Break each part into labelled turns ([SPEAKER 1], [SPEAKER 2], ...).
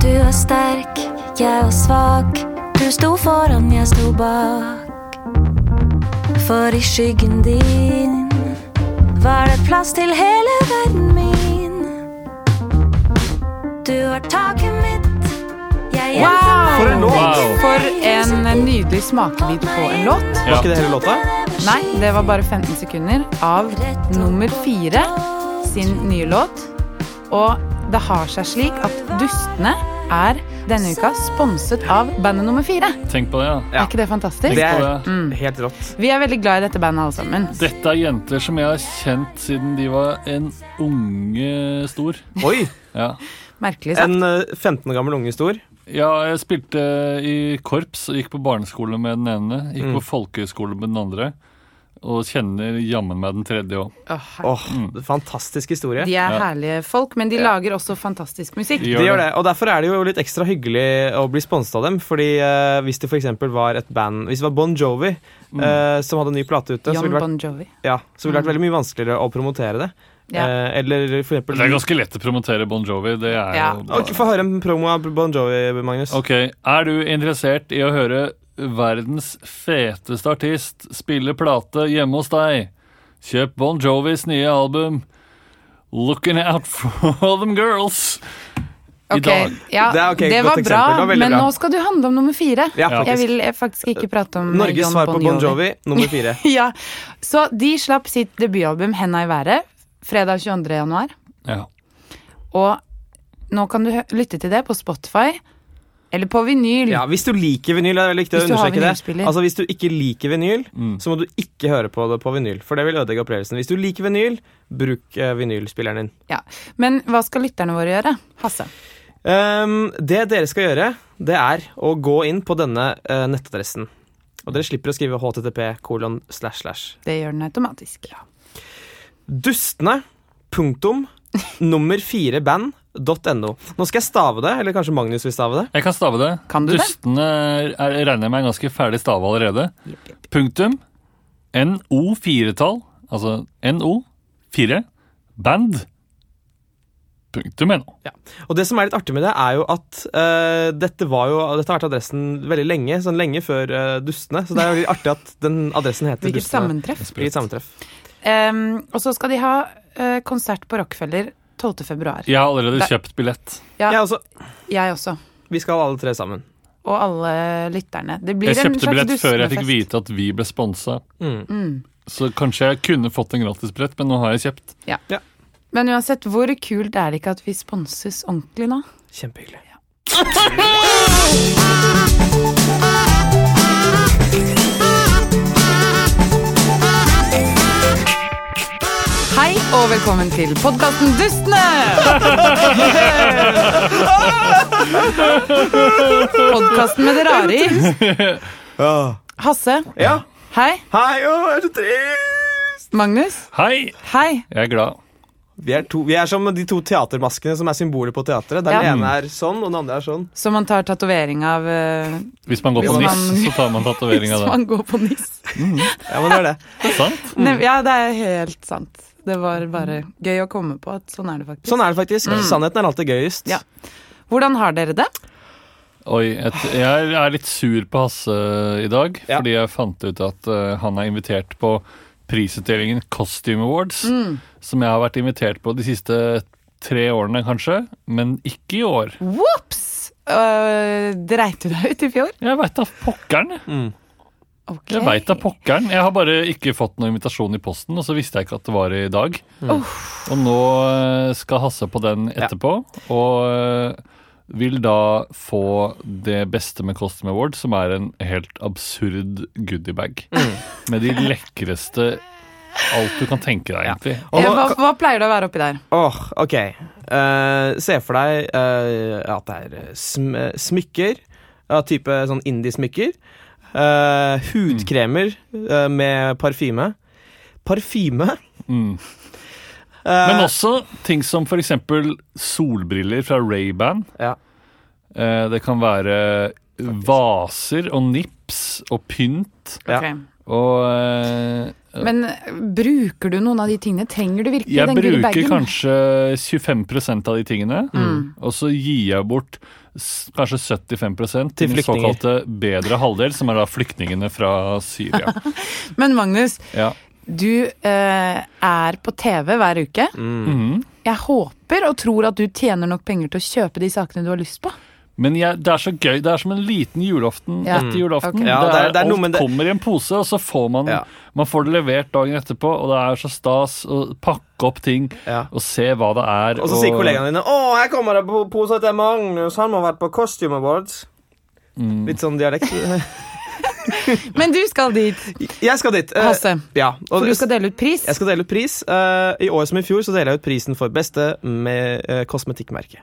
[SPEAKER 1] Du var sterk, jeg var svak. Du sto foran, jeg sto bak. For i skyggen din var det plass til hele verden min. Du var taket mitt, jeg gjemte
[SPEAKER 2] Wow!
[SPEAKER 1] meg
[SPEAKER 3] For en låt!
[SPEAKER 1] bak
[SPEAKER 3] Wow.
[SPEAKER 2] For en nydelig smakebit på en låt.
[SPEAKER 3] Var
[SPEAKER 4] Ja.
[SPEAKER 3] ikke det hele låta?
[SPEAKER 2] Nei, det var bare 15 sekunder av nummer fire sin nye låt. Og det har seg slik at Dustene er denne uka sponset av bandet nummer fire.
[SPEAKER 4] Tenk på det, da.
[SPEAKER 2] Er ikke det fantastisk?
[SPEAKER 3] Det er
[SPEAKER 4] på det.
[SPEAKER 2] Mm.
[SPEAKER 3] helt rått.
[SPEAKER 2] Vi er veldig glad i dette bandet alle sammen.
[SPEAKER 4] Dette er jenter som jeg har kjent siden de var en unge stor.
[SPEAKER 3] Oi!
[SPEAKER 4] Ja.
[SPEAKER 2] Merkelig sagt.
[SPEAKER 3] En eh, 15 år gammel unge stor.
[SPEAKER 4] Ja, jeg spilte i korps og gikk på barneskole med den ene. Gikk
[SPEAKER 3] Mm.
[SPEAKER 4] på folkehøyskole med den andre. Og kjenner jammen meg den tredje òg.
[SPEAKER 2] Åh, herregud.
[SPEAKER 3] Åh,
[SPEAKER 4] Mm.
[SPEAKER 3] Fantastisk historie.
[SPEAKER 2] de er
[SPEAKER 4] Ja.
[SPEAKER 2] herlige folk, men de lager også fantastisk musikk.
[SPEAKER 4] De
[SPEAKER 3] De gjør det, og Derfor er det jo litt ekstra hyggelig å bli sponset av dem. Fordi eh, Hvis det for eksempel var et band Hvis det var Bon Jovi
[SPEAKER 4] Mm.
[SPEAKER 3] eh, som hadde en ny plate ute, så
[SPEAKER 2] John
[SPEAKER 3] ville det vært,
[SPEAKER 2] Bon Jovi.
[SPEAKER 3] ja, så ville det vært veldig mye vanskeligere å promotere det.
[SPEAKER 2] Ja.
[SPEAKER 3] Eh, eller for eksempel
[SPEAKER 4] Det er ganske lett å promotere Bon Jovi. Det er
[SPEAKER 2] Ja.
[SPEAKER 4] jo
[SPEAKER 3] Ok, Få høre en promo av Bon Jovi, Magnus.
[SPEAKER 4] Ok, er du interessert i å høre verdens feteste artist spille plate hjemme hos deg? Kjøp Bon Jovis nye album Looking Out for All Them Girls i
[SPEAKER 2] Ok,
[SPEAKER 4] dag.
[SPEAKER 2] ja,
[SPEAKER 3] Det er ok,
[SPEAKER 2] det
[SPEAKER 3] godt
[SPEAKER 2] var
[SPEAKER 3] eksempel.
[SPEAKER 2] bra,
[SPEAKER 3] Det var veldig
[SPEAKER 2] men
[SPEAKER 3] bra.
[SPEAKER 2] nå skal du handle om nummer fire.
[SPEAKER 3] Ja, faktisk.
[SPEAKER 2] Jeg vil eh, faktisk ikke prate om eh,
[SPEAKER 3] Norges
[SPEAKER 2] John
[SPEAKER 3] svar på Bon Jovi, nummer fire.
[SPEAKER 2] Ja, Så de slapp sitt debutalbum 'Henda i været' fredag 22. januar.
[SPEAKER 4] Ja.
[SPEAKER 2] Og nå kan du hø- lytte til det på Spotify eller på vinyl.
[SPEAKER 3] Ja, hvis du liker vinyl, det er veldig viktig å
[SPEAKER 2] Hvis du har
[SPEAKER 3] understreke det.
[SPEAKER 2] vinylspiller.
[SPEAKER 3] Altså, Hvis du ikke liker vinyl, så må du ikke høre på det på vinyl. For det vil ødelegge opplevelsen. Hvis du liker vinyl, bruk eh, vinylspilleren din.
[SPEAKER 2] Ja. Men hva skal lytterne våre gjøre? Hasse.
[SPEAKER 3] Ehm, det dere skal gjøre, det er å gå inn på denne eh, nettadressen. Og dere slipper å skrive http kolon slash slash.
[SPEAKER 2] Det gjør den automatisk.
[SPEAKER 3] Dustene punktum nummer fire band.no. Nå skal jeg stave det, eller kanskje Magnus vil stave det.
[SPEAKER 4] Jeg kan stave det.
[SPEAKER 2] Kan du det?
[SPEAKER 4] Dustene er, er- regner jeg med er ganske ferdig stave allerede. Punktum. NO firetall, altså NO fire, band. Punktum NO.
[SPEAKER 3] Og det som er litt artig med det, er jo at eh, dette, var jo, dette har vært adressen veldig lenge, sånn lenge før eh, Dustene. Så det er jo litt artig at den adressen heter
[SPEAKER 2] Hvilket
[SPEAKER 3] Dustene.
[SPEAKER 2] sammentreff.
[SPEAKER 3] Hvilket sammentreff.
[SPEAKER 2] Ehm, og så skal de ha eh, konsert på Rockefeller 12. februar.
[SPEAKER 4] Jeg har allerede
[SPEAKER 2] Det-
[SPEAKER 4] kjøpt billett.
[SPEAKER 2] Ja.
[SPEAKER 3] Ja, altså,
[SPEAKER 2] Jeg også.
[SPEAKER 3] vi skal alle tre sammen.
[SPEAKER 2] Og alle lytterne. Det blir
[SPEAKER 4] Jeg
[SPEAKER 2] en
[SPEAKER 4] kjøpte
[SPEAKER 2] slags
[SPEAKER 4] billett før jeg fikk
[SPEAKER 2] dustefest.
[SPEAKER 4] vite at vi ble sponsa.
[SPEAKER 3] Mm.
[SPEAKER 4] Så kanskje jeg kunne fått en gratisbillett, men nå har jeg kjøpt.
[SPEAKER 2] Men uansett, hvor kult er det ikke at vi sponses ordentlig nå?
[SPEAKER 3] Kjempehyggelig.
[SPEAKER 2] Hei og velkommen til podkasten Dustene! Podkasten med det rare i. Hasse.
[SPEAKER 3] Ja.
[SPEAKER 2] Hei.
[SPEAKER 3] Hei, å, jeg er så trist!
[SPEAKER 2] Magnus.
[SPEAKER 4] Hei!
[SPEAKER 2] Hei.
[SPEAKER 4] Jeg er glad.
[SPEAKER 3] Vi er, to, vi er som de to teatermaskene som er symboler på teatret.
[SPEAKER 2] Ja.
[SPEAKER 3] Der den ene er sånn, og den andre er sånn.
[SPEAKER 2] Så man tar tatovering av eh,
[SPEAKER 4] Hvis man går
[SPEAKER 2] Hvis
[SPEAKER 4] på NIS,
[SPEAKER 2] man-
[SPEAKER 4] så tar man tatovering
[SPEAKER 2] Hvis
[SPEAKER 4] av det.
[SPEAKER 2] man går på niss.
[SPEAKER 3] Ja, men det er det.
[SPEAKER 4] Sant?
[SPEAKER 3] Mm.
[SPEAKER 2] Nei, Ja, det er helt sant. Det var bare gøy å komme på at sånn er det faktisk.
[SPEAKER 3] Sånn er det faktisk. Sannheten er alltid gøyest.
[SPEAKER 2] Mm. Ja. Hvordan har dere det?
[SPEAKER 4] Oi, et, jeg er litt sur på Hasse i dag,
[SPEAKER 3] Ja.
[SPEAKER 4] fordi jeg fant ut at eh, han er invitert på prisutdelingen Costume Awards,
[SPEAKER 2] Mm.
[SPEAKER 4] som jeg har vært invitert på de siste tre årene, kanskje, men ikke i år.
[SPEAKER 2] Ops! Øh, dreit du deg ut i fjor?
[SPEAKER 4] Jeg veit da pokkeren. jeg.
[SPEAKER 2] Ok.
[SPEAKER 4] Jeg vet da pokkeren. Jeg har bare ikke fått noen invitasjon i posten, og så visste jeg ikke at det var i dag.
[SPEAKER 2] Mm.
[SPEAKER 4] Og nå eh, skal Hasse på den etterpå, og eh, vil da få det beste med Costume Award, som er en helt absurd goodiebag.
[SPEAKER 2] Mm.
[SPEAKER 4] Med de lekreste Alt du kan tenke deg, egentlig.
[SPEAKER 3] Og
[SPEAKER 2] Ja,
[SPEAKER 3] nå,
[SPEAKER 2] Eh, hva, hva pleier det å være oppi der?
[SPEAKER 3] Åh, ok. Eh, se for deg eh, at det er sm eh, smykker, av type sånn indiesmykker. eh, hudkremer eh, med parfyme. Parfyme?
[SPEAKER 4] Mm.
[SPEAKER 3] Eh,
[SPEAKER 2] Eh.
[SPEAKER 4] Men også ting som f.eks. solbriller fra Ray-Ban.
[SPEAKER 3] ja.
[SPEAKER 4] Eh, Det kan være vaser og nips og pynt
[SPEAKER 3] Ja.
[SPEAKER 2] Ok.
[SPEAKER 4] og eh,
[SPEAKER 2] Men bruker du noen av de tingene? Trenger du virkelig
[SPEAKER 4] Jeg
[SPEAKER 2] den gule
[SPEAKER 4] bruker
[SPEAKER 2] bagen? Mm.
[SPEAKER 4] kanskje Mm. 25 av de tingene, og så gir jeg bort s- kanskje 75
[SPEAKER 3] Til
[SPEAKER 4] til den
[SPEAKER 3] flyktninger.
[SPEAKER 4] såkalte bedre halvdel, som er da flyktningene fra Syria.
[SPEAKER 2] Men Magnus,
[SPEAKER 4] Ja.
[SPEAKER 2] du eh, er på TV hver uke.
[SPEAKER 3] mm,
[SPEAKER 4] Mhm.
[SPEAKER 2] Jeg håper og tror at du tjener nok penger til å kjøpe de sakene du har lyst på.
[SPEAKER 4] Men jeg, det er så gøy. Det er som en liten julaften
[SPEAKER 2] Ja.
[SPEAKER 4] etter julaften.
[SPEAKER 2] Ok.
[SPEAKER 3] Ja, det er- det er noe
[SPEAKER 4] alt
[SPEAKER 3] med det-
[SPEAKER 4] kommer i en pose, og så får man,
[SPEAKER 3] Ja.
[SPEAKER 4] man får det levert dagen etterpå. Og det er så stas å pakke opp ting
[SPEAKER 3] Ja.
[SPEAKER 4] og se hva det er.
[SPEAKER 3] Og så sier kollegaene dine 'Å, her kommer det po- poser til Magnus, han må ha vært på Costume Awards'.
[SPEAKER 4] Mm.
[SPEAKER 3] Litt sånn dialekt.
[SPEAKER 2] Men du skal dit,
[SPEAKER 3] Jeg skal dit. eh,
[SPEAKER 2] Hasse.
[SPEAKER 3] ja.
[SPEAKER 2] For
[SPEAKER 3] og-
[SPEAKER 2] du skal dele ut pris.
[SPEAKER 3] Jeg skal dele ut pris. Eh, I år som i fjor så deler jeg ut prisen for beste med eh, kosmetikkmerke.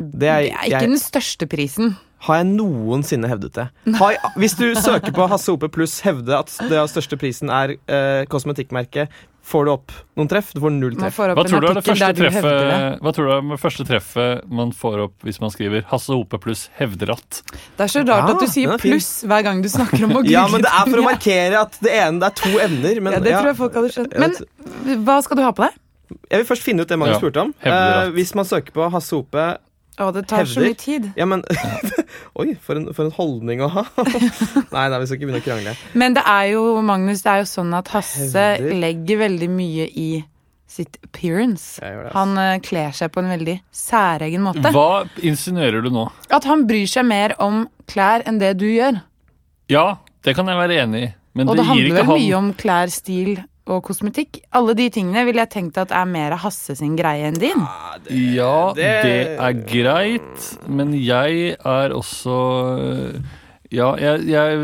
[SPEAKER 3] Det er,
[SPEAKER 2] Det er ikke
[SPEAKER 3] jeg,
[SPEAKER 2] den største prisen.
[SPEAKER 3] Har jeg noensinne hevdet det? Har jeg, hvis du søker på Hasse Ope pluss hevde at det største prisen er eh, kosmetikkmerke, får du opp noen treff? Du får null
[SPEAKER 2] Man
[SPEAKER 3] treff.
[SPEAKER 2] får opp
[SPEAKER 4] Hva tror,
[SPEAKER 2] en
[SPEAKER 4] du er det
[SPEAKER 2] artikkel
[SPEAKER 4] første
[SPEAKER 2] der du hevder det.
[SPEAKER 4] treffet, hva tror du er det første treffet man får opp hvis man skriver 'Hasse Hope pluss hevder at'?
[SPEAKER 2] Det er så rart
[SPEAKER 3] Ah,
[SPEAKER 2] at du
[SPEAKER 3] den
[SPEAKER 2] sier
[SPEAKER 3] er fin.
[SPEAKER 2] pluss hver gang du snakker om å google
[SPEAKER 3] Ja, men det er for å
[SPEAKER 2] ting.
[SPEAKER 3] markere at det ene det er to emner. Men,
[SPEAKER 2] Ja, det tror jeg folk hadde skjønt.
[SPEAKER 3] Jeg
[SPEAKER 2] Men hva skal du ha på deg?
[SPEAKER 3] Jeg vil først finne ut det Magnus
[SPEAKER 4] Ja,
[SPEAKER 3] spurte om.
[SPEAKER 4] hevder
[SPEAKER 3] Eh,
[SPEAKER 4] at.
[SPEAKER 3] hvis man søker på Hasse Ope
[SPEAKER 2] Å, det tar så
[SPEAKER 3] Hevder.
[SPEAKER 2] mye tid.
[SPEAKER 3] Ja, men Oi, for en, for en holdning å ha. nei, nei, vi skal ikke begynne å krangle.
[SPEAKER 2] Men det er jo, Magnus, det er jo sånn at Hasse
[SPEAKER 3] Hevder.
[SPEAKER 2] legger veldig mye i sitt appearance.
[SPEAKER 3] Jeg gjør det, ass.
[SPEAKER 2] Han eh, kler seg på en veldig særegen måte.
[SPEAKER 4] Hva insinuerer du nå?
[SPEAKER 2] At han bryr seg mer om klær enn det du gjør.
[SPEAKER 4] Ja, det kan jeg være enig i, men
[SPEAKER 2] Og
[SPEAKER 4] det
[SPEAKER 2] det
[SPEAKER 4] gir
[SPEAKER 2] handler
[SPEAKER 4] ikke
[SPEAKER 2] vel mye
[SPEAKER 4] han
[SPEAKER 2] om klær, stil og kosmetikk. Alle de tingene ville jeg tenkt at er mer av Hasse sin greie enn din.
[SPEAKER 3] Ah.
[SPEAKER 4] Ja,
[SPEAKER 3] det-
[SPEAKER 4] det er greit, men jeg er også Ja, jeg, jeg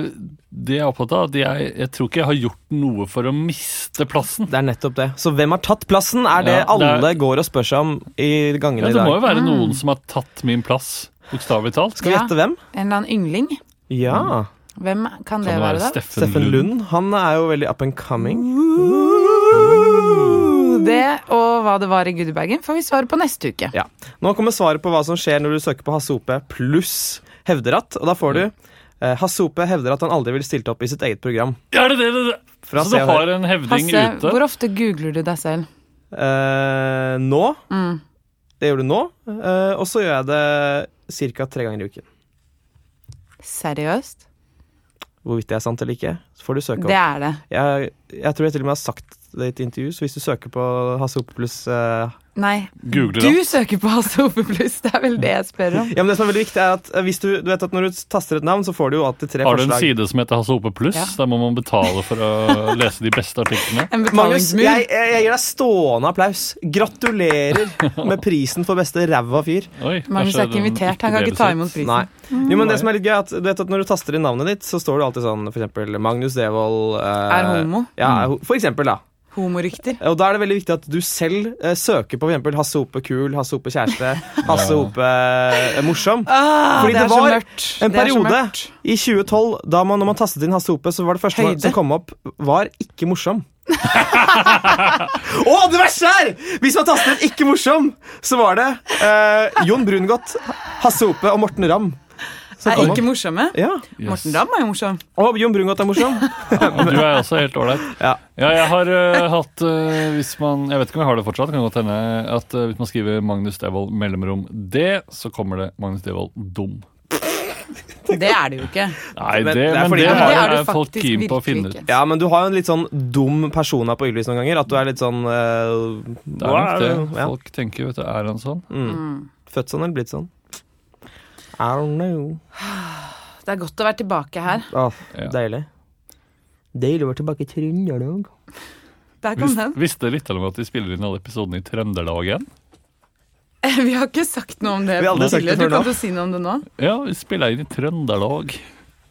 [SPEAKER 4] Det jeg er opptatt av, at jeg, jeg tror ikke jeg har gjort noe for å miste plassen.
[SPEAKER 3] Det er nettopp det. Så hvem har tatt plassen, er det
[SPEAKER 4] Ja, det er-
[SPEAKER 3] alle går og spør seg om i
[SPEAKER 4] Ja,
[SPEAKER 3] gangene i
[SPEAKER 4] det
[SPEAKER 3] dag.
[SPEAKER 4] må jo
[SPEAKER 2] Mm.
[SPEAKER 4] være noen som har tatt min plass, bokstavelig talt.
[SPEAKER 3] Skal vi
[SPEAKER 2] Ja.
[SPEAKER 3] gjette hvem?
[SPEAKER 2] En eller annen yngling.
[SPEAKER 3] Ja.
[SPEAKER 2] Hvem kan
[SPEAKER 4] Kan
[SPEAKER 2] det
[SPEAKER 4] det være
[SPEAKER 2] være, da?
[SPEAKER 4] Mm. Steffen
[SPEAKER 3] Steffen
[SPEAKER 4] Lund?
[SPEAKER 3] Lund. Han er jo veldig up and coming.
[SPEAKER 4] Mm.
[SPEAKER 2] Det og hva det var i goodiebagen, får vi svar på neste uke.
[SPEAKER 3] Ja. Nå kommer svaret på hva som skjer når du søker på Hasse Ope pluss hevderatt. Og da får du eh, Hasse Ope hevder at han aldri ville stilt opp i sitt eget program.
[SPEAKER 4] Er det det, det, det?
[SPEAKER 3] Fra
[SPEAKER 4] Så
[SPEAKER 3] Se
[SPEAKER 4] du
[SPEAKER 3] og Hør.
[SPEAKER 4] har en hevding
[SPEAKER 2] Hasse,
[SPEAKER 4] ute?
[SPEAKER 2] hvor ofte googler du deg selv?
[SPEAKER 3] Eh, nå
[SPEAKER 2] Mm.
[SPEAKER 3] Det gjør du nå. eh, og så gjør jeg det ca. tre ganger i uken.
[SPEAKER 2] Seriøst?
[SPEAKER 3] Hvorvidt det er sant eller ikke, så får du søke
[SPEAKER 2] Det
[SPEAKER 3] opp.
[SPEAKER 2] er det.
[SPEAKER 3] Jeg, jeg tror jeg til og med har sagt det i et intervju, så hvis du søker på Hasse Ope pluss eh,
[SPEAKER 2] Nei,
[SPEAKER 4] Googler
[SPEAKER 2] du
[SPEAKER 4] han.
[SPEAKER 2] søker på Hasse Hope Pluss, det er vel det jeg spør om.
[SPEAKER 3] Ja, men det som er veldig viktig er at eh, hvis du, du vet at Når du taster et navn, så får du jo alltid tre
[SPEAKER 4] Har du en
[SPEAKER 3] forslag.
[SPEAKER 4] side som heter Hasse Hope Pluss?
[SPEAKER 2] Ja.
[SPEAKER 4] Der må man betale for å lese de beste artiklene.
[SPEAKER 2] En
[SPEAKER 3] Magnus,
[SPEAKER 2] betalingsmur.
[SPEAKER 3] jeg, jeg, jeg gir deg stående applaus. Gratulerer med prisen for beste ræva fyr.
[SPEAKER 4] Oi,
[SPEAKER 2] Magnus
[SPEAKER 4] kanskje
[SPEAKER 2] er ikke
[SPEAKER 4] den
[SPEAKER 2] invitert, han kan
[SPEAKER 4] deles
[SPEAKER 2] ikke ta
[SPEAKER 4] ut.
[SPEAKER 2] imot prisen. Mm.
[SPEAKER 3] Nei. Jo, men det som er litt gøy, er at du vet at når du taster inn navnet ditt, så står det alltid sånn for eksempel Magnus Devold eh,
[SPEAKER 2] Er homo.
[SPEAKER 3] Ja,
[SPEAKER 4] Mm.
[SPEAKER 3] er ho- for eksempel, da.
[SPEAKER 2] Homorykter.
[SPEAKER 3] Og da er det veldig viktig at du selv eh, søker på for eksempel Hasse Hope kul, Hasse Hope kjæreste, Hasse Hope eh, morsom.
[SPEAKER 2] Ah,
[SPEAKER 3] Fordi det
[SPEAKER 2] er så
[SPEAKER 3] var
[SPEAKER 2] mørkt.
[SPEAKER 3] En
[SPEAKER 2] Det er så
[SPEAKER 3] periode
[SPEAKER 2] mørkt.
[SPEAKER 3] i 2012, da man, når man tastet inn Hasse Hope, så var det første
[SPEAKER 2] Høyde.
[SPEAKER 3] som kom opp, var 'ikke morsom'. Å, det verste er! Hvis man tastet inn 'ikke morsom', så var det eh, Jon Brungot, Hasse Hope og Morten Ramm. som
[SPEAKER 2] Er
[SPEAKER 3] kom
[SPEAKER 2] ikke
[SPEAKER 3] opp.
[SPEAKER 2] morsomme?
[SPEAKER 3] Ja.
[SPEAKER 4] Yes.
[SPEAKER 2] Morten Ramm er jo morsom.
[SPEAKER 3] Og Jon Brungot er morsom.
[SPEAKER 4] Og du er også helt ålreit.
[SPEAKER 3] Ja.
[SPEAKER 4] Ja, jeg har eh, hatt eh, Hvis man Jeg vet ikke om jeg har det fortsatt, kan godt hende at eh, hvis man skriver Magnus Devold mellomrom D, så kommer det Magnus Devold dum.
[SPEAKER 2] Det er det jo ikke.
[SPEAKER 4] Nei,
[SPEAKER 3] Men
[SPEAKER 4] det,
[SPEAKER 3] det er
[SPEAKER 4] men
[SPEAKER 3] fordi-
[SPEAKER 4] det
[SPEAKER 3] Men
[SPEAKER 4] har
[SPEAKER 2] det er
[SPEAKER 4] jeg
[SPEAKER 2] du
[SPEAKER 4] folk
[SPEAKER 2] faktisk
[SPEAKER 4] keen på å finne ut.
[SPEAKER 2] virkelig ikke.
[SPEAKER 3] Ja, men du har jo en litt sånn dum persona på Ylvis noen ganger. At du er litt sånn eh,
[SPEAKER 4] Det er nok det
[SPEAKER 3] ja.
[SPEAKER 4] folk tenker. Vet du, er han sånn?
[SPEAKER 2] Mm.
[SPEAKER 3] Født sånn eller blitt sånn? I don't know.
[SPEAKER 2] Det er godt å være tilbake her.
[SPEAKER 3] Åh,
[SPEAKER 4] Ja.
[SPEAKER 3] Deilig. Deilig å være tilbake i Trøndelag.
[SPEAKER 2] Der kom
[SPEAKER 4] Vis,
[SPEAKER 2] den.
[SPEAKER 4] visste lytterne at de spiller inn alle episodene i Trøndelag igjen?
[SPEAKER 2] Vi har ikke sagt noe om det
[SPEAKER 3] Vi har aldri sagt det
[SPEAKER 2] tidligere. Du
[SPEAKER 3] før
[SPEAKER 2] kan
[SPEAKER 3] nå.
[SPEAKER 2] jo si noe om det nå.
[SPEAKER 4] Ja, vi spiller inn i Trøndelag.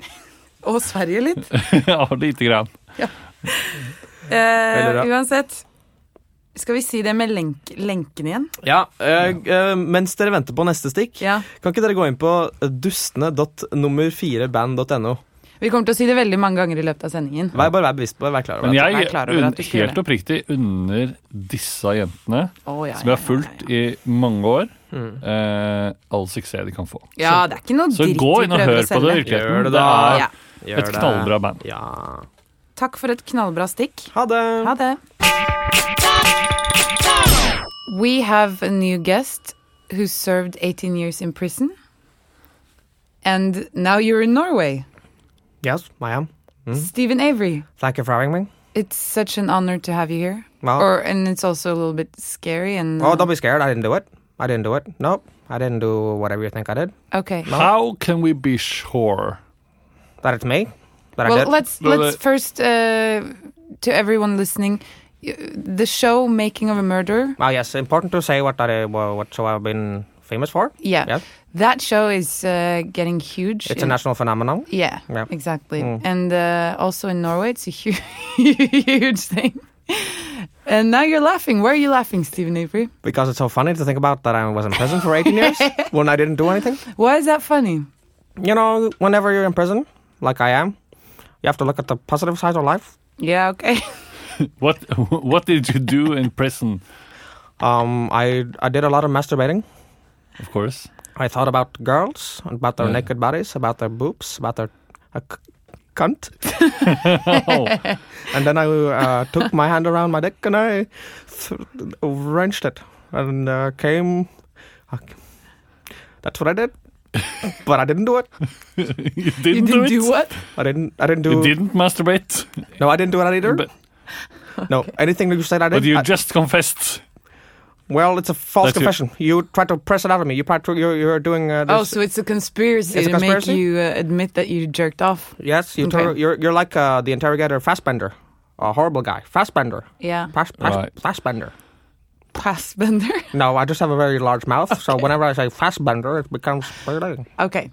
[SPEAKER 2] Og Sverige litt.
[SPEAKER 4] ja, lite grann.
[SPEAKER 2] Eh,
[SPEAKER 3] bra.
[SPEAKER 2] uansett. Skal vi si det med lenk lenken igjen?
[SPEAKER 3] Ja, eh, eh, mens dere venter på neste stikk,
[SPEAKER 2] Ja.
[SPEAKER 3] kan ikke dere gå inn på dustene.nummer4band.no?
[SPEAKER 2] Vi kommer til å si det veldig mange ganger i løpet av sendingen.
[SPEAKER 3] Vær, bare vær bevisst på det. Vær klar
[SPEAKER 4] Men
[SPEAKER 3] over det.
[SPEAKER 4] jeg,
[SPEAKER 2] jeg er klar over at
[SPEAKER 4] un,
[SPEAKER 2] du skulle
[SPEAKER 4] helt oppriktig unner disse jentene,
[SPEAKER 2] Å, ja, ja, Mm.
[SPEAKER 4] som jeg har fulgt i mange år, eh, all suksess de kan få.
[SPEAKER 2] Ja, ja, det er ikke noe
[SPEAKER 4] Så
[SPEAKER 2] dritt
[SPEAKER 4] gå
[SPEAKER 2] vi
[SPEAKER 4] inn og
[SPEAKER 2] prøver å
[SPEAKER 4] hør på det i
[SPEAKER 2] selge.
[SPEAKER 3] Gjør
[SPEAKER 4] virkeligheten. Det
[SPEAKER 3] det da.
[SPEAKER 4] er
[SPEAKER 2] Ja.
[SPEAKER 3] Gjør
[SPEAKER 4] et
[SPEAKER 3] det.
[SPEAKER 4] knallbra band.
[SPEAKER 3] Ja.
[SPEAKER 2] Takk for et knallbra stikk.
[SPEAKER 3] Ha det.
[SPEAKER 2] Ha det. We have a new guest who served 18 years in prison. And now you're in Norway.
[SPEAKER 3] Yes, I am.
[SPEAKER 2] Stephen Avery,
[SPEAKER 3] Thank you for having me.
[SPEAKER 2] it's such an honor to have you here.
[SPEAKER 3] Wow.
[SPEAKER 2] Or and it's also a little bit scary and
[SPEAKER 3] Oh, don't be scared. I didn't do it. I didn't do it. Nope. I didn't do whatever you think I did.
[SPEAKER 2] okay.
[SPEAKER 4] How can we be sure?
[SPEAKER 3] That it's me. That I
[SPEAKER 2] Well,
[SPEAKER 3] did.
[SPEAKER 2] let's
[SPEAKER 4] No,
[SPEAKER 2] let's
[SPEAKER 4] no.
[SPEAKER 2] first uh, to everyone listening, y- the show "Making of a Murder."
[SPEAKER 3] Ah, yes. Important to say what I wha- what show I've been famous for.
[SPEAKER 2] Yeah,
[SPEAKER 3] Yeah.
[SPEAKER 2] that show is uh, getting huge.
[SPEAKER 3] It's a
[SPEAKER 2] in-
[SPEAKER 3] national Mm. phenomenon.
[SPEAKER 2] Yeah,
[SPEAKER 3] Yeah.
[SPEAKER 2] exactly. And uh, also in Norway, it's a huge, huge thing. And now you're laughing. Where are you laughing, Stephen Avery?
[SPEAKER 3] Because it's so funny to think about that I was in prison for 18 years when I didn't do anything.
[SPEAKER 2] Why is that funny?
[SPEAKER 3] You know, whenever you're in prison, like I am, you have to look at the positive side of life.
[SPEAKER 2] Yeah, okay.
[SPEAKER 4] What, what did you do in prison,
[SPEAKER 3] Um, I I did a lot of masturbating.
[SPEAKER 4] of course?
[SPEAKER 3] I thought about girls, about their
[SPEAKER 4] Yeah.
[SPEAKER 3] naked bodies, about their boobs, about their uh, c- cunt.
[SPEAKER 4] Oh,
[SPEAKER 3] And then I uh, took my hand around my dick and I th- wrenched it and uh, came. uh, that's what I did. but I didn't do it.
[SPEAKER 4] you didn't,
[SPEAKER 2] you didn't
[SPEAKER 4] do it?
[SPEAKER 2] do what?
[SPEAKER 3] I didn't. I didn't do.
[SPEAKER 4] You didn't masturbate?
[SPEAKER 3] No, I didn't do it either.
[SPEAKER 4] But,
[SPEAKER 3] no, anything that you said, I did.
[SPEAKER 4] but you
[SPEAKER 3] I-
[SPEAKER 4] just confessed.
[SPEAKER 3] well, it's a false
[SPEAKER 4] That's your-
[SPEAKER 3] confession. You tried to press it out of me. You tried to. You're, you're doing. Uh,
[SPEAKER 2] Oh,
[SPEAKER 3] this-
[SPEAKER 2] so it's a conspiracy
[SPEAKER 3] It's a
[SPEAKER 2] to
[SPEAKER 3] conspiracy?
[SPEAKER 2] make you uh, admit that you jerked off.
[SPEAKER 3] yes, you.
[SPEAKER 2] Okay.
[SPEAKER 3] Ter- you're you're like uh, the interrogator Fassbender, a horrible guy. Fassbender.
[SPEAKER 2] Yeah.
[SPEAKER 3] Pass, pass,
[SPEAKER 4] Right.
[SPEAKER 3] Fassbender.
[SPEAKER 2] Passbender.
[SPEAKER 3] No, I just have a very large mouth, so whenever I say Fassbender, it becomes.
[SPEAKER 2] okay.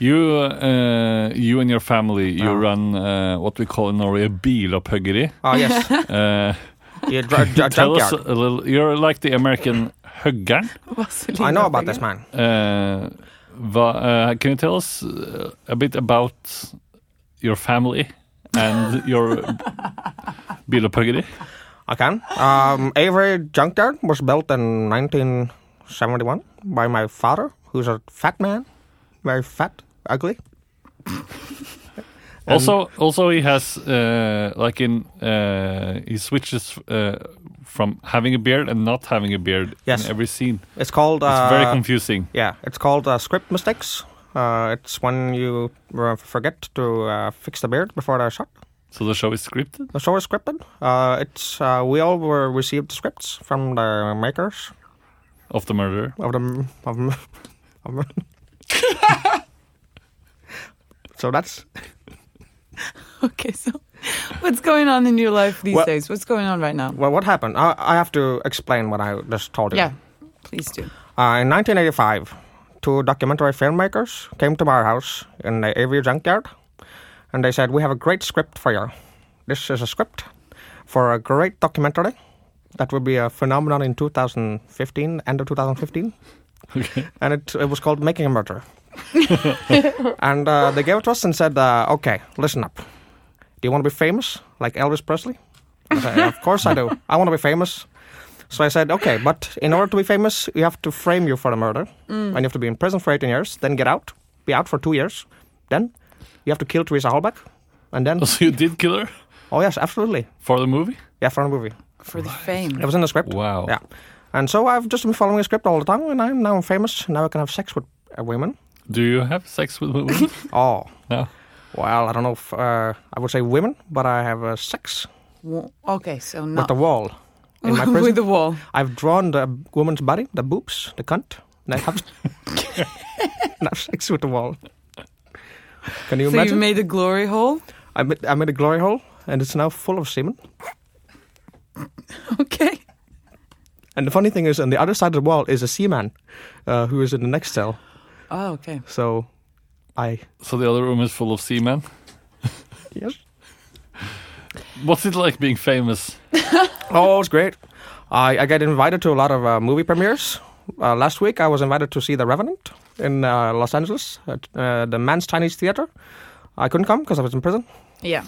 [SPEAKER 4] You, uh, you and your family, you
[SPEAKER 3] Ja.
[SPEAKER 4] run uh, what we call in Norway a bilopphuggeri.
[SPEAKER 3] Oh yes,
[SPEAKER 4] Uh,
[SPEAKER 3] you dr- dr-
[SPEAKER 4] tell us
[SPEAKER 3] junkyard.
[SPEAKER 4] a little. You're like the American huggern.
[SPEAKER 2] Vaseline
[SPEAKER 3] I know about
[SPEAKER 2] Affleck.
[SPEAKER 3] this
[SPEAKER 4] Uh,
[SPEAKER 3] man.
[SPEAKER 4] va- uh, can you tell us uh, a bit about your family and your bilopphuggeri?
[SPEAKER 3] I can. Um, Avery Junkyard was built in 1971 by my father, who's a fat man, very fat, ugly.
[SPEAKER 4] Also, also he has uh, like in uh, he switches uh, from having a beard and not having a beard
[SPEAKER 3] Yes.
[SPEAKER 4] in every scene.
[SPEAKER 3] It's called.
[SPEAKER 4] It's
[SPEAKER 3] Uh,
[SPEAKER 4] very confusing.
[SPEAKER 3] yeah, it's called uh, script mistakes. Uh, it's when you uh, forget to uh, fix the beard before the shot.
[SPEAKER 4] So the show is scripted.
[SPEAKER 3] The show is scripted. Uh, it's uh, we all were received scripts from the makers
[SPEAKER 4] of the murderer.
[SPEAKER 3] of the of, m- of m- So that's
[SPEAKER 2] Okay, so what's going on in your life these
[SPEAKER 3] Well-
[SPEAKER 2] days? What's going on right now?
[SPEAKER 3] well, what happened. I, I have to explain what I just told you.
[SPEAKER 2] Yeah, please do.
[SPEAKER 3] Uh, in 1985, two documentary filmmakers came to our house in the AV junkyard, and they said, "We have a great script for you. This is a script for a great documentary that will be a phenomenon in 2015, end of 2015."
[SPEAKER 4] Okay.
[SPEAKER 3] and it, it was called Making a Murder. and uh, they gave it to us and said, uh, okay, listen up. Do you want to be famous like Elvis Presley? I said, of course I do. I want to be famous. So I said, okay, but in order to be famous, you have to frame you for the murder. And you have to be in prison for 18 years, then get out, be out for two years. Then you have to kill Teresa Halbach. And then,
[SPEAKER 4] So you did kill her
[SPEAKER 3] oh yes, absolutely.
[SPEAKER 4] for the movie.
[SPEAKER 3] Yeah, for a movie.
[SPEAKER 2] For the fame.
[SPEAKER 3] It was in the script.
[SPEAKER 4] Wow.
[SPEAKER 3] Yeah. And so I've just been following a script all the time, and I'm now famous. Now I can have sex with uh, women.
[SPEAKER 4] Do you have sex with women?
[SPEAKER 3] Oh.
[SPEAKER 4] no.
[SPEAKER 3] Well, I don't know if uh, I would say women, but I have uh, sex
[SPEAKER 2] Wa- Okay, so
[SPEAKER 3] with
[SPEAKER 2] not
[SPEAKER 3] the wall in my
[SPEAKER 2] with
[SPEAKER 3] prison.
[SPEAKER 2] the wall.
[SPEAKER 3] I've drawn the woman's body, the boobs, the cunt, and I have, and I have sex with the wall. Can you
[SPEAKER 2] so you
[SPEAKER 3] imagine?
[SPEAKER 2] made a glory hole.
[SPEAKER 3] I, made, I made a glory hole, and it's now full of semen.
[SPEAKER 2] Okay.
[SPEAKER 3] And the funny thing is, on the other side of the wall is a seaman uh, who is in the next cell.
[SPEAKER 2] Oh, okay.
[SPEAKER 3] So, I
[SPEAKER 4] So the other room is full of seamen.
[SPEAKER 3] yes.
[SPEAKER 4] What's it like being famous?
[SPEAKER 3] Oh, it's great. I, I get invited to a lot of uh, movie premieres. Uh, last week, I was invited to see The Revenant in uh, Los Angeles at uh, the Man's Chinese Theater. I couldn't come because I was in prison.
[SPEAKER 2] Yeah.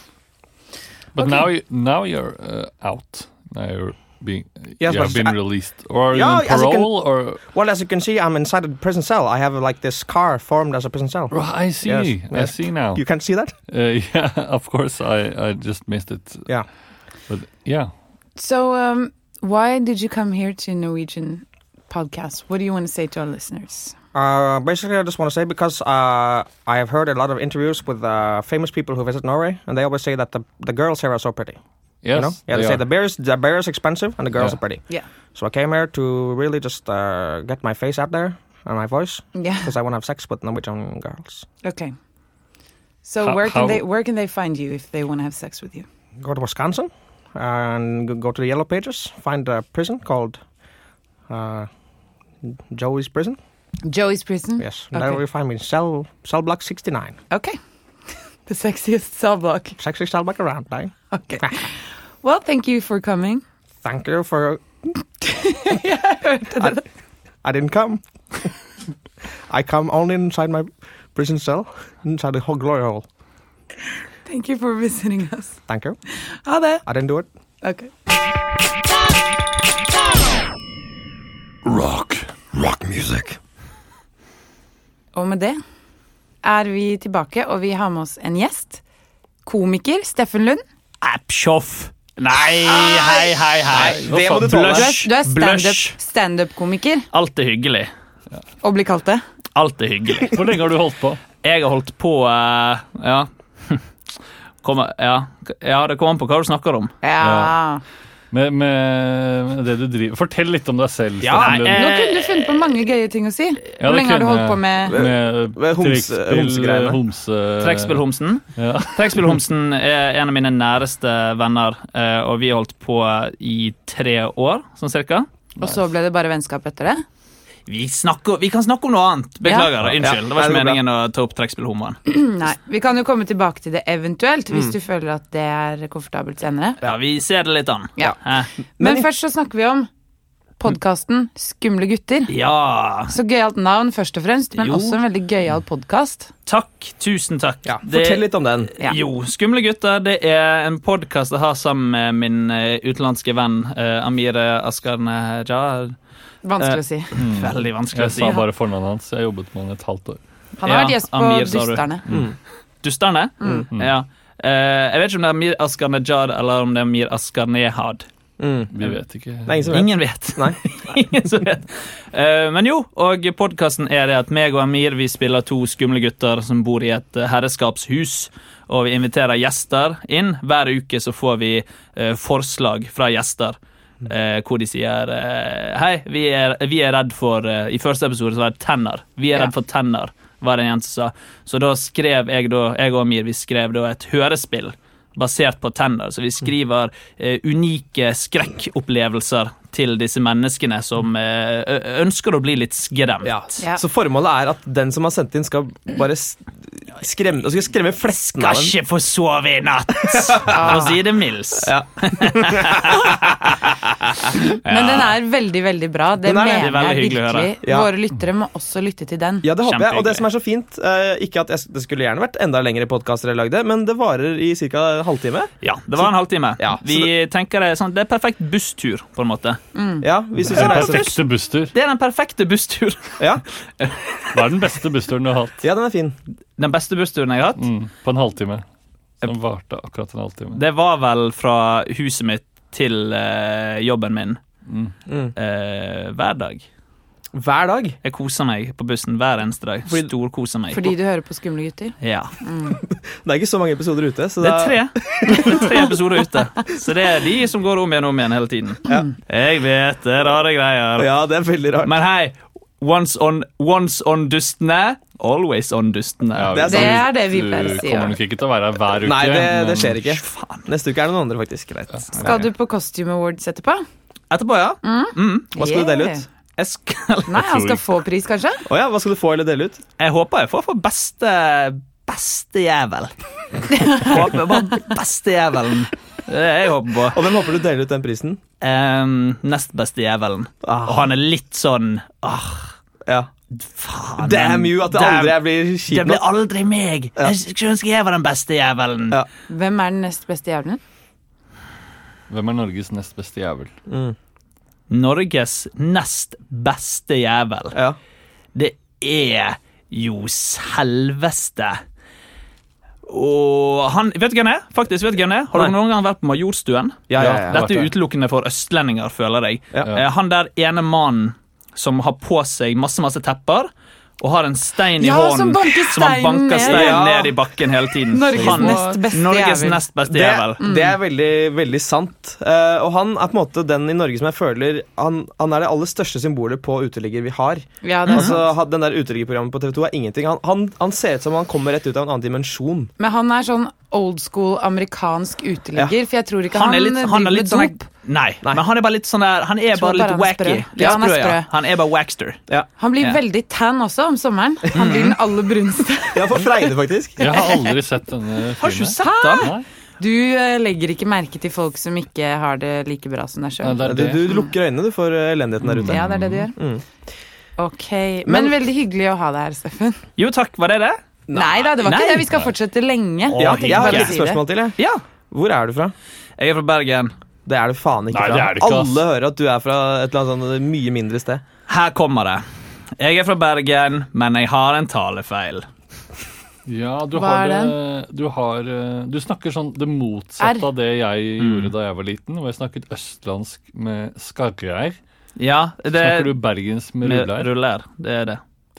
[SPEAKER 4] But
[SPEAKER 2] Okay.
[SPEAKER 4] now, you, now you're uh, out. Now you're being
[SPEAKER 3] Yes,
[SPEAKER 4] you have
[SPEAKER 3] but
[SPEAKER 4] been
[SPEAKER 3] I-
[SPEAKER 4] released, or
[SPEAKER 3] Yeah,
[SPEAKER 4] yeah,
[SPEAKER 3] as you can-
[SPEAKER 4] parole, or
[SPEAKER 3] Well, as you can see, I'm inside a prison cell. I have like this car formed as a prison cell.
[SPEAKER 4] Right, oh, I see,
[SPEAKER 3] Yes,
[SPEAKER 4] I
[SPEAKER 3] yes.
[SPEAKER 4] see now.
[SPEAKER 3] You can't see that?
[SPEAKER 4] Uh, yeah, of course, I, I just missed it.
[SPEAKER 3] Yeah.
[SPEAKER 4] But yeah,
[SPEAKER 2] So, um, why did you come here to Norwegian podcast? What do you want to say to our listeners?
[SPEAKER 3] Uh, basically, I just want to say because uh, I have heard a lot of interviews with uh, famous people who visit Norway, and they always say that the, the girls here are so pretty.
[SPEAKER 4] yes,
[SPEAKER 3] you know? Yeah, they,
[SPEAKER 4] they
[SPEAKER 3] say
[SPEAKER 4] are.
[SPEAKER 3] the beer is the beer is expensive and the girls
[SPEAKER 4] Yeah.
[SPEAKER 3] are pretty.
[SPEAKER 2] Yeah.
[SPEAKER 3] So I came here to really just uh, get my face out there and my voice
[SPEAKER 2] Yeah.
[SPEAKER 3] because I want to have sex with Norwegian girls.
[SPEAKER 2] Okay. So
[SPEAKER 4] How-
[SPEAKER 2] where can
[SPEAKER 4] how-
[SPEAKER 2] they where can they find you if they want to have sex with you?
[SPEAKER 3] Go to Wisconsin and g- go to the Yellow Pages. Find a prison called uh, Joey's Prison.
[SPEAKER 2] Joey's prison.
[SPEAKER 3] Yes,
[SPEAKER 2] Okay.
[SPEAKER 3] there you find me cell cell block sixty nine.
[SPEAKER 2] Okay. the sexiest cell block.
[SPEAKER 3] Sexy cell block around. Eh?
[SPEAKER 2] Okay. well, thank you for coming.
[SPEAKER 3] Thank you for
[SPEAKER 2] yeah, I hørte det.
[SPEAKER 3] I didn't come. I come only inside my prison cell, inside the whole glory hole.
[SPEAKER 2] Thank you for visiting us.
[SPEAKER 3] Thank you.
[SPEAKER 2] Ha det.
[SPEAKER 3] I didn't do it.
[SPEAKER 2] Okay.
[SPEAKER 4] rock.
[SPEAKER 5] Rock music.
[SPEAKER 2] Og med det er vi tilbake, og vi har med oss en gjest. Komiker Steffen Lund.
[SPEAKER 6] Appshoff. Nei, hei, hei, hei.
[SPEAKER 3] det må du tåle.
[SPEAKER 2] Du er,
[SPEAKER 6] Blush.
[SPEAKER 2] du er
[SPEAKER 6] Blush.
[SPEAKER 2] standup- standup-komiker
[SPEAKER 6] Alt er hyggelig.
[SPEAKER 2] og blir kalt det.
[SPEAKER 6] Alt er hyggelig.
[SPEAKER 4] Hvor lenge har du holdt på?
[SPEAKER 6] Jeg har holdt på eh, ja. Kommer, ja. ja, det kommer an på hva du snakker om.
[SPEAKER 2] Ja.
[SPEAKER 4] Med, med det du driver Fortell litt om deg selv.
[SPEAKER 6] Ja,
[SPEAKER 4] Steffen Lund.
[SPEAKER 6] eh,
[SPEAKER 2] Nå kunne du funnet på mange gøye ting å si.
[SPEAKER 4] Ja,
[SPEAKER 2] Hvor
[SPEAKER 4] det
[SPEAKER 2] lenge har du
[SPEAKER 4] kunne
[SPEAKER 2] holdt på med
[SPEAKER 4] jeg.
[SPEAKER 3] Med homse-
[SPEAKER 4] trekkspill,
[SPEAKER 3] homsegreiene.
[SPEAKER 4] homse...
[SPEAKER 6] Trekkspillhomsen.
[SPEAKER 4] eh, Ja.
[SPEAKER 6] Trekkspillhomsen er en av mine næreste venner, eh, og vi har holdt på eh, i tre år, sånn cirka.
[SPEAKER 2] Og så ble det bare vennskap etter det?
[SPEAKER 6] Vi, snakker, vi kan snakke om noe annet. Beklager. Unnskyld.
[SPEAKER 3] Nei, det
[SPEAKER 6] Det var ikke
[SPEAKER 3] går bra.
[SPEAKER 6] meningen å ta opp trekkspillhomoen.
[SPEAKER 2] Nei. Vi kan jo komme tilbake til det eventuelt, hvis du føler at det er komfortabelt senere.
[SPEAKER 6] Ja, vi ser det litt an.
[SPEAKER 2] Ja.
[SPEAKER 6] Eh,
[SPEAKER 2] Men først så snakker vi om podkasten Skumle gutter.
[SPEAKER 6] ja.
[SPEAKER 2] Så gøyalt navn først og fremst, men
[SPEAKER 6] Jo.
[SPEAKER 2] også en veldig gøyal podkast.
[SPEAKER 6] Takk. Tusen takk.
[SPEAKER 3] Ja,
[SPEAKER 6] Det-
[SPEAKER 3] Fortell litt om den.
[SPEAKER 2] Ja.
[SPEAKER 6] Jo, Skumle gutter det er en podkast jeg har sammen med min eh, utenlandske venn eh, Amir Askarne Ja,
[SPEAKER 2] Vanskelig å si.
[SPEAKER 3] Mm.
[SPEAKER 4] Mm.
[SPEAKER 6] veldig vanskelig å
[SPEAKER 4] Jeg
[SPEAKER 6] si.
[SPEAKER 4] sa bare fornavnet hans. Jeg jobbet med han et halvt år.
[SPEAKER 2] Han har
[SPEAKER 6] ja,
[SPEAKER 2] vært gjest på
[SPEAKER 6] Amir, sa du.
[SPEAKER 2] Dysterne.
[SPEAKER 6] Dusterne?
[SPEAKER 3] Mm.
[SPEAKER 6] Ja. Eh, jeg vet ikke om det er Amir Askar Najjar eller om det er Amir Askar Nehad.
[SPEAKER 3] Mm.
[SPEAKER 4] Vi vet ikke.
[SPEAKER 3] Det er ingen som vet.
[SPEAKER 6] Ingen vet.
[SPEAKER 3] Nei.
[SPEAKER 6] Ingen som vet. Eh, men jo, og podkasten er det at meg og Amir vi spiller to skumle gutter som bor i et eh, herreskapshus. Og vi inviterer gjester inn. Hver uke så får vi eh, forslag fra gjester. eh, hvor de sier eh, Hei, vi er, vi er redd for eh, I første episode så var det tenner. Vi er
[SPEAKER 2] Ja.
[SPEAKER 6] redd for tenner, var det en jente som sa. Så da skrev jeg da, jeg og Amir, vi skrev da et hørespill basert på tenner. Så vi skriver eh, unike skrekkopplevelser til disse menneskene som eh, ø- ønsker å bli litt skremt.
[SPEAKER 3] Ja.
[SPEAKER 2] Ja.
[SPEAKER 3] Så formålet er at den som har sendt inn, skal bare s- skremme, og skal skremme flesten av
[SPEAKER 6] Skal
[SPEAKER 3] den.
[SPEAKER 6] ikke få sove i natt, for å si det mildst.
[SPEAKER 2] Men den er veldig, veldig bra. Det
[SPEAKER 3] Den er
[SPEAKER 2] mener
[SPEAKER 6] veldig, veldig
[SPEAKER 2] jeg
[SPEAKER 6] hyggelig å
[SPEAKER 2] virkelig.
[SPEAKER 3] høre. Ja.
[SPEAKER 2] Våre lyttere må også lytte til den.
[SPEAKER 3] Ja, det håper jeg. Og det
[SPEAKER 6] Kjempehyggelig.
[SPEAKER 3] som er så fint, eh, ikke at jeg, s- det skulle gjerne vært enda lengre podkaster jeg lagde, men det varer i ca. en halvtime.
[SPEAKER 6] Ja, det var en halvtime.
[SPEAKER 3] Ja, så
[SPEAKER 6] Vi tenker det, er sånn, det er perfekt busstur, på en måte.
[SPEAKER 3] Ja, hvis du
[SPEAKER 4] Den
[SPEAKER 3] skal reise.
[SPEAKER 4] perfekte busstur.
[SPEAKER 6] Det er den perfekte busstur.
[SPEAKER 3] Ja.
[SPEAKER 4] Hva er den beste bussturen du har hatt?
[SPEAKER 3] ja, den er fin.
[SPEAKER 6] Den beste bussturen jeg har hatt,
[SPEAKER 4] Mm, på en halvtime. Som varte akkurat en halvtime.
[SPEAKER 6] det var vel fra huset mitt til eh, jobben min
[SPEAKER 3] Mm.
[SPEAKER 6] eh, hver dag.
[SPEAKER 3] Hver dag.
[SPEAKER 6] Jeg koser meg på bussen hver eneste dag.
[SPEAKER 3] Fordi-
[SPEAKER 6] Storkoser meg.
[SPEAKER 2] Fordi du hører på Skumle gutter.
[SPEAKER 6] Ja.
[SPEAKER 3] Det er ikke så mange episoder ute. Så
[SPEAKER 6] Det er tre. Det er tre episoder ute. Så det er de som går om igjen og om igjen hele tiden.
[SPEAKER 3] Ja.
[SPEAKER 6] Jeg vet det er rare greier.
[SPEAKER 3] Ja, det er veldig rart.
[SPEAKER 6] Men hei, once on, once on dustene, always on dustene.
[SPEAKER 4] Ja,
[SPEAKER 3] Det er
[SPEAKER 4] du-
[SPEAKER 3] sant.
[SPEAKER 2] Det er det vi pleier å
[SPEAKER 4] Du
[SPEAKER 2] si, ja.
[SPEAKER 4] kommer nok ikke til å være her hver uke.
[SPEAKER 3] Nei, det, det
[SPEAKER 4] men-
[SPEAKER 3] skjer ikke.
[SPEAKER 6] Faen.
[SPEAKER 3] Neste uke er det noen andre, faktisk. Greit.
[SPEAKER 2] Skal du på Costume Awards etterpå?
[SPEAKER 6] Etterpå, ja. Mm.
[SPEAKER 3] Hva skal du dele ut?
[SPEAKER 6] Jeg, skal,
[SPEAKER 2] Nei, han
[SPEAKER 4] tror
[SPEAKER 2] skal
[SPEAKER 4] ikke.
[SPEAKER 2] få pris, kanskje?
[SPEAKER 3] Å ja, hva skal du få eller dele ut?
[SPEAKER 6] jeg håper jeg får for beste Beste jævel. håper bare beste jævelen. Det er Jeg håper på.
[SPEAKER 3] Og hvem håper du deler ut den prisen?
[SPEAKER 6] Ehm, nest beste jævelen. Og
[SPEAKER 3] Ah,
[SPEAKER 6] han er litt sånn ah,
[SPEAKER 3] ja.
[SPEAKER 6] Faen.
[SPEAKER 3] Damn you, at det
[SPEAKER 6] damn-
[SPEAKER 3] aldri jeg blir
[SPEAKER 6] Det
[SPEAKER 3] kjip
[SPEAKER 6] blir
[SPEAKER 3] nok.
[SPEAKER 6] aldri meg!
[SPEAKER 3] Ja.
[SPEAKER 6] Jeg skulle ønske jeg var den beste jævelen.
[SPEAKER 3] Ja.
[SPEAKER 2] Hvem er den nest beste jævelen?
[SPEAKER 4] Hvem er Norges nest beste jævel?
[SPEAKER 6] Norges nest beste jævel.
[SPEAKER 3] Ja.
[SPEAKER 6] Det er jo selveste Og han Vet du hvem det er? Faktisk, vet du hvem det er? Har dere
[SPEAKER 3] Nei.
[SPEAKER 6] noen gang vært på Majorstuen?
[SPEAKER 3] Ja, ja, ja.
[SPEAKER 6] Dette er
[SPEAKER 4] vært
[SPEAKER 6] utelukkende for østlendinger, føler jeg.
[SPEAKER 3] Ja.
[SPEAKER 6] Eh, Han der ene mannen som har på seg masse, masse tepper, og har en stein i
[SPEAKER 2] Ja, som
[SPEAKER 6] hånden
[SPEAKER 2] banker
[SPEAKER 6] som han
[SPEAKER 2] steinen
[SPEAKER 6] banker
[SPEAKER 2] ned.
[SPEAKER 6] steinen
[SPEAKER 3] Ja.
[SPEAKER 6] ned i bakken hele tiden.
[SPEAKER 2] Norges
[SPEAKER 6] Han-
[SPEAKER 2] nest beste
[SPEAKER 6] Norges
[SPEAKER 2] jævel.
[SPEAKER 6] nest beste
[SPEAKER 3] Det,
[SPEAKER 6] jævel.
[SPEAKER 3] det er veldig, veldig sant. Eh, og han er på en måte den i Norge som jeg føler Han, han er det aller største symbolet på uteligger vi har.
[SPEAKER 2] Ja, det er
[SPEAKER 3] Altså,
[SPEAKER 2] sant.
[SPEAKER 3] han- den der uteliggerprogrammet på TV2 er ingenting. Han, han, han ser ut som han kommer rett ut av en annen dimensjon.
[SPEAKER 2] Men han er sånn old school amerikansk uteligger, for jeg tror ikke
[SPEAKER 6] han
[SPEAKER 2] han,
[SPEAKER 6] er litt, han er litt sånn
[SPEAKER 2] driver
[SPEAKER 6] der-
[SPEAKER 2] med dop.
[SPEAKER 6] nei, men han er bare litt sånn der Han er
[SPEAKER 2] Tror
[SPEAKER 6] bare
[SPEAKER 2] bare
[SPEAKER 6] litt
[SPEAKER 2] han er sprø.
[SPEAKER 6] wacky. Litt
[SPEAKER 2] Ja, han er
[SPEAKER 6] sprø, ja.
[SPEAKER 2] sprø.
[SPEAKER 6] Han er bare waxter.
[SPEAKER 2] Han blir
[SPEAKER 6] Ja.
[SPEAKER 2] veldig tan også om sommeren. Han blir den aller bruneste.
[SPEAKER 3] Ja, for Freide, faktisk.
[SPEAKER 4] Jeg har aldri sett denne filmen.
[SPEAKER 6] Har ikke du sett han?
[SPEAKER 4] Nei,
[SPEAKER 2] Du eh, legger ikke merke til folk som ikke har det like bra som deg
[SPEAKER 4] Nei,
[SPEAKER 2] sjøl.
[SPEAKER 4] det er
[SPEAKER 3] Du,
[SPEAKER 4] det.
[SPEAKER 3] du lukker øynene du for eh, elendigheten der ute.
[SPEAKER 2] Ja, det er det du gjør.
[SPEAKER 3] Mm.
[SPEAKER 2] Ok, Men,
[SPEAKER 3] Men-
[SPEAKER 2] veldig hyggelig å ha deg her, Steffen.
[SPEAKER 6] Jo takk, var det det?
[SPEAKER 2] Nei da, det var
[SPEAKER 6] Nei.
[SPEAKER 2] ikke det. Vi skal fortsette lenge.
[SPEAKER 3] Ja,
[SPEAKER 2] tenkte
[SPEAKER 3] jeg har
[SPEAKER 2] bare å
[SPEAKER 3] et lite
[SPEAKER 2] si det.
[SPEAKER 3] spørsmål til. Jeg.
[SPEAKER 6] Ja.
[SPEAKER 3] Hvor er du fra?
[SPEAKER 6] Jeg er fra Bergen.
[SPEAKER 3] Det er du faen ikke
[SPEAKER 4] Nei,
[SPEAKER 3] fra.
[SPEAKER 4] det er du ikke, ass.
[SPEAKER 3] Alle hører at du er fra et eller annet sånn mye mindre sted.
[SPEAKER 6] Her kommer det. Jeg er fra Bergen, men jeg har en talefeil.
[SPEAKER 4] Ja, du
[SPEAKER 2] Hva
[SPEAKER 4] har,
[SPEAKER 2] er
[SPEAKER 4] det- du har eh, Du snakker sånn det motsatte
[SPEAKER 2] R.
[SPEAKER 4] av det jeg
[SPEAKER 3] Mm.
[SPEAKER 4] gjorde da jeg var liten, hvor jeg snakket østlandsk med skarre-r.
[SPEAKER 6] Ja,
[SPEAKER 4] Snakker
[SPEAKER 6] det
[SPEAKER 4] du bergens med
[SPEAKER 6] med
[SPEAKER 4] rulle-r?
[SPEAKER 6] ruller. Det er det.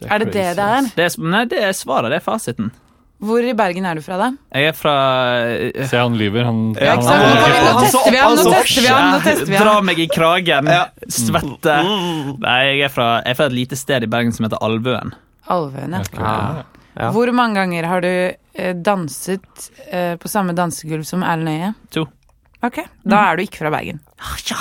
[SPEAKER 2] Er det det
[SPEAKER 4] crazy,
[SPEAKER 2] det er?
[SPEAKER 4] ass.
[SPEAKER 6] det er, nei, det er svaret. Det er fasiten.
[SPEAKER 2] Hvor i Bergen er du fra, da?
[SPEAKER 6] Jeg er fra eh,
[SPEAKER 4] Se, han lyver. Han,
[SPEAKER 3] Ja, ikke
[SPEAKER 4] han-
[SPEAKER 3] sant? Nå kan vi
[SPEAKER 2] Nå
[SPEAKER 3] Han så
[SPEAKER 2] tester vi
[SPEAKER 3] opp,
[SPEAKER 2] ham,
[SPEAKER 3] han
[SPEAKER 2] nå
[SPEAKER 3] så opp.
[SPEAKER 2] tester vi ham! Nå tester vi
[SPEAKER 6] Dra
[SPEAKER 2] ham.
[SPEAKER 6] meg i kragen.
[SPEAKER 3] Ja.
[SPEAKER 6] Svette. Nei, jeg er, fra, jeg er fra et lite sted i Bergen som heter Alvøen.
[SPEAKER 2] Alvøen, ja.
[SPEAKER 3] Ja. Ja.
[SPEAKER 2] Hvor mange ganger har du eh, danset eh, på samme dansegulv som Erlend Øye?
[SPEAKER 6] To.
[SPEAKER 2] Ok, da er du ikke fra Bergen.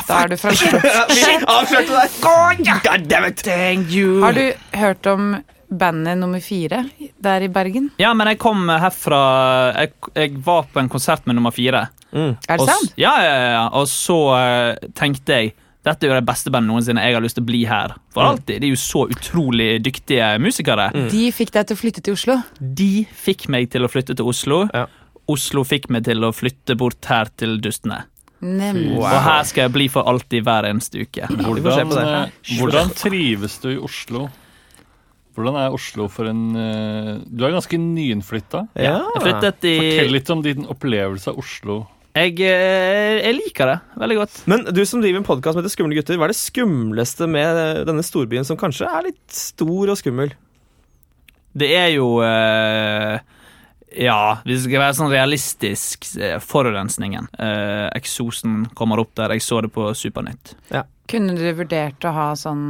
[SPEAKER 2] Da er du fra Oslo.
[SPEAKER 3] Avslørte deg! God damn it!
[SPEAKER 6] Thank you.
[SPEAKER 2] Har du hørt om bandet nummer fire der i Bergen?
[SPEAKER 6] Ja, men jeg kom herfra Jeg, jeg var på en konsert med nummer fire.
[SPEAKER 3] Mm,
[SPEAKER 2] Er det
[SPEAKER 6] Og s-
[SPEAKER 2] sant?
[SPEAKER 6] Ja, ja, ja, ja. Og så eh, tenkte jeg dette er jo det beste bandet noensinne. Jeg har lyst til å bli her for alltid. De er jo så utrolig dyktige musikere.
[SPEAKER 2] De fikk deg til å flytte til Oslo.
[SPEAKER 6] De fikk meg til å flytte til Oslo.
[SPEAKER 3] Ja.
[SPEAKER 6] Oslo fikk meg til å flytte bort her til Dustene.
[SPEAKER 2] Nemlig.
[SPEAKER 3] Wow.
[SPEAKER 6] Og her skal jeg bli for alltid hver eneste uke.
[SPEAKER 3] vi får se
[SPEAKER 4] Hvordan,
[SPEAKER 3] på det.
[SPEAKER 4] eh, hvordan trives du i Oslo? Hvordan er Oslo for en eh, Du er ganske nyinnflytta.
[SPEAKER 3] Ja.
[SPEAKER 6] Jeg flyttet i
[SPEAKER 4] Fortell litt om din opplevelse av Oslo.
[SPEAKER 6] jeg, eh, jeg liker det veldig godt.
[SPEAKER 3] Men du som driver en podkast som heter Skumle gutter, hva er det skumleste med denne storbyen, som kanskje er litt stor og skummel?
[SPEAKER 6] Det er jo eh, Ja, hvis det skal være sånn realistisk, eh, forurensningen. Eh, eksosen kommer opp der. Jeg så det på Supernytt.
[SPEAKER 2] Kunne du vurdert å ha sånn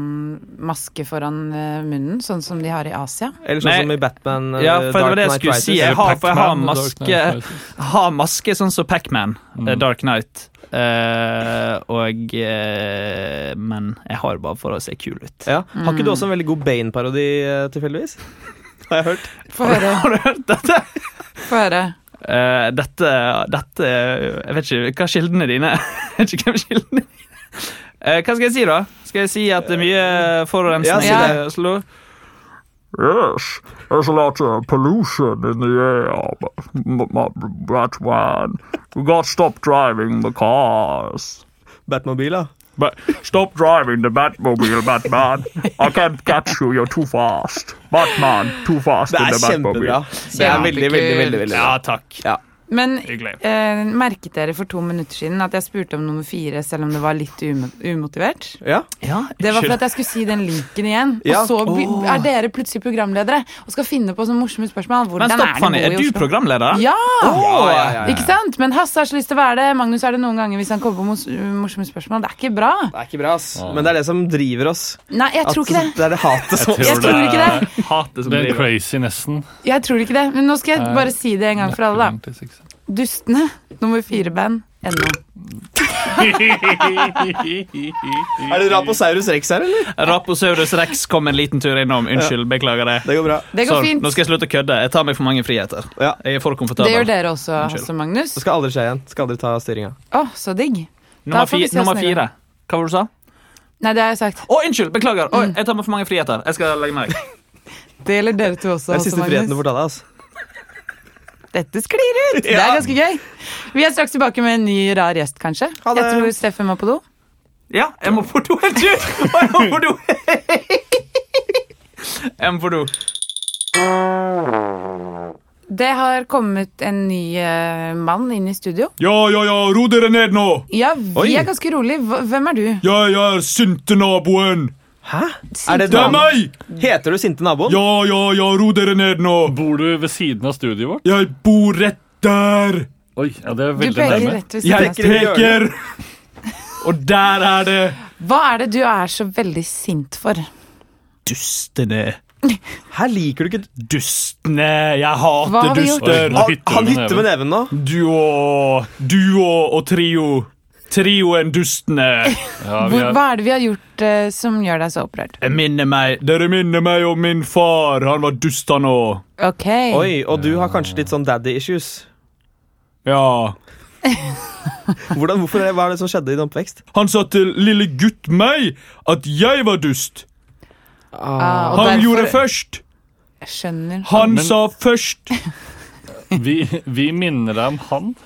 [SPEAKER 2] maske foran eh, munnen, sånn som de har i Asia?
[SPEAKER 3] Eller sånn
[SPEAKER 6] Nei.
[SPEAKER 3] som i Batman eh,
[SPEAKER 6] Ja, for det var det jeg
[SPEAKER 3] Knight
[SPEAKER 6] skulle
[SPEAKER 3] Rises.
[SPEAKER 6] si. Jeg har- for jeg har
[SPEAKER 4] Pac-Man og Dark
[SPEAKER 6] maske.
[SPEAKER 4] Knight Rises.
[SPEAKER 6] Ha maske sånn som Pacman, mm.
[SPEAKER 4] Mm.
[SPEAKER 6] Dark Knight. Eh, og eh, Men jeg har det bare for å se kul ut.
[SPEAKER 3] Ja. Har ikke du
[SPEAKER 6] Mm.
[SPEAKER 3] også en veldig god Bane-parodi, eh, tilfeldigvis? Har jeg hørt.
[SPEAKER 2] Få høre.
[SPEAKER 6] Har du hørt dette?
[SPEAKER 2] Få høre.
[SPEAKER 6] Eh, dette, dette Jeg vet ikke hva er kildene dine Jeg vet ikke hvem kildene dine Eh, Hva skal jeg si, da? Skal jeg si at det er mye
[SPEAKER 3] Ja,
[SPEAKER 6] forurensning
[SPEAKER 2] si det.
[SPEAKER 6] i Oslo?
[SPEAKER 5] Yes, there's a lot of pollution in the air. but- but That's why we got to stop driving the cars.
[SPEAKER 3] Batmobil, da.
[SPEAKER 5] But stop driving the Batmobile, Batman. I can't catch you. You're too fast, Batman. Too fast
[SPEAKER 3] Det
[SPEAKER 5] in
[SPEAKER 3] er
[SPEAKER 5] the
[SPEAKER 3] kjempebra.
[SPEAKER 5] Batmobile.
[SPEAKER 3] Det er veldig, veldig, veldig, veldig bra.
[SPEAKER 6] Ja, takk.
[SPEAKER 3] Ja.
[SPEAKER 2] Men
[SPEAKER 6] Hyggelig.
[SPEAKER 2] eh, merket dere for to minutter siden at jeg spurte om nummer fire, selv om det var litt umo- umotivert?
[SPEAKER 3] Ja.
[SPEAKER 2] Det var for at jeg skulle si den linken igjen.
[SPEAKER 3] Ja.
[SPEAKER 2] Og så be- er dere plutselig programledere og skal finne på sånne morsomme spørsmål. Hvordan
[SPEAKER 6] Men stopp,
[SPEAKER 2] er
[SPEAKER 6] Fanny.
[SPEAKER 2] det å
[SPEAKER 6] Er
[SPEAKER 2] bo i
[SPEAKER 6] du
[SPEAKER 2] Oslo?
[SPEAKER 6] programleder?
[SPEAKER 2] Ja!
[SPEAKER 3] Ja, ja, ja, ja.
[SPEAKER 2] Ikke sant? Men Hasse har så lyst til å være det. Magnus er det noen ganger hvis han kommer på mos- morsomme spørsmål. Det er ikke bra.
[SPEAKER 3] Det er ikke bra, ass. Men det er det som driver oss.
[SPEAKER 2] Nei, jeg tror ikke det.
[SPEAKER 3] det er det hatet som
[SPEAKER 2] Jeg tror ikke det.
[SPEAKER 6] Hatet som
[SPEAKER 4] Den
[SPEAKER 6] driver.
[SPEAKER 4] crazynessen.
[SPEAKER 2] Jeg tror ikke det. Men nå skal jeg bare si det en gang for alle, da. Dustene, nummer fire band, NO.
[SPEAKER 3] Er det Raposaurus rex her, eller?
[SPEAKER 6] Raposaurus rex kom en liten tur innom. Unnskyld, beklager det.
[SPEAKER 3] Det går bra.
[SPEAKER 2] Det går
[SPEAKER 6] Sorry,
[SPEAKER 2] fint.
[SPEAKER 6] Nå skal jeg slutte å kødde. Jeg tar meg for mange friheter.
[SPEAKER 3] Ja.
[SPEAKER 6] Jeg er for
[SPEAKER 2] Det
[SPEAKER 6] komfortabel.
[SPEAKER 2] gjør dere også,
[SPEAKER 6] Unnskyld.
[SPEAKER 2] Hasse og Magnus.
[SPEAKER 3] Det
[SPEAKER 2] Å,
[SPEAKER 3] skal aldri skje igjen. Skal aldri ta styringa.
[SPEAKER 2] så digg. Da
[SPEAKER 6] Nummer,
[SPEAKER 2] får vi
[SPEAKER 6] fi
[SPEAKER 2] se
[SPEAKER 6] nummer
[SPEAKER 2] hvordan det går.
[SPEAKER 6] fire. Hva var det du sa?
[SPEAKER 2] Nei, det har jeg sagt.
[SPEAKER 7] Å, unnskyld! Beklager. Oi, jeg tar meg for mange friheter. Jeg skal legge meg.
[SPEAKER 2] Det gjelder dere to også.
[SPEAKER 3] Det er
[SPEAKER 2] Hasse
[SPEAKER 3] siste friheten
[SPEAKER 2] Magnus.
[SPEAKER 3] du får ta deg. Altså.
[SPEAKER 2] Dette sklir ut! Det er ganske gøy. Vi er straks tilbake med en ny rar gjest, kanskje.
[SPEAKER 3] Ha det.
[SPEAKER 2] Jeg tror Steffen må på do.
[SPEAKER 7] Ja, jeg må på do. Jeg tror- jeg må på do. Jeg må på do.
[SPEAKER 2] Det har kommet en ny eh, mann inn i studio.
[SPEAKER 6] Ja, ja, ja, ro dere ned nå!
[SPEAKER 2] Ja, vi
[SPEAKER 3] Oi.
[SPEAKER 2] er ganske rolig. Hv- Hvem er du?
[SPEAKER 6] Jeg er sinte naboen!
[SPEAKER 3] Hæ? Er det
[SPEAKER 2] Det er
[SPEAKER 3] navn?
[SPEAKER 6] meg!
[SPEAKER 3] Heter du sinte naboen?
[SPEAKER 6] Ja, ja, ja, ro dere ned nå!
[SPEAKER 4] Bor du ved siden av studioet vårt?
[SPEAKER 6] Jeg bor rett der!
[SPEAKER 4] Oi, ja, det er
[SPEAKER 2] Du
[SPEAKER 4] veldig
[SPEAKER 2] peker
[SPEAKER 4] nærme.
[SPEAKER 2] rett ved siden
[SPEAKER 6] Jeg
[SPEAKER 2] av
[SPEAKER 3] peker i hjørnet.
[SPEAKER 6] peker! Og der er det
[SPEAKER 2] Hva er det du er så veldig sint for?
[SPEAKER 6] Dustene.
[SPEAKER 3] Her liker du ikke
[SPEAKER 6] Dustene.
[SPEAKER 2] Hva
[SPEAKER 6] Jeg hater
[SPEAKER 2] har vi gjort?
[SPEAKER 6] duster.
[SPEAKER 4] Oi.
[SPEAKER 3] Han, han hytter med neven nå.
[SPEAKER 6] Duo, duo og trio. Trioen Dustene.
[SPEAKER 4] Ja, vi
[SPEAKER 2] Hvor,
[SPEAKER 4] er,
[SPEAKER 2] hva er det vi har gjort eh, som gjør deg så opprørt?
[SPEAKER 6] Jeg minner meg Dere minner meg om min far. Han var dust, han òg.
[SPEAKER 2] Ok.
[SPEAKER 3] Oi, Og du har kanskje litt sånn daddy issues.
[SPEAKER 6] Ja.
[SPEAKER 3] Hvordan, hvorfor, er- hva er det som skjedde i din oppvekst?
[SPEAKER 6] Han sa til lille gutt meg at jeg var dust.
[SPEAKER 2] Ah, og
[SPEAKER 6] Han
[SPEAKER 2] derfor-
[SPEAKER 6] gjorde først.
[SPEAKER 2] Jeg skjønner.
[SPEAKER 6] Han
[SPEAKER 4] Men-
[SPEAKER 6] sa først.
[SPEAKER 4] vi, vi minner deg om han.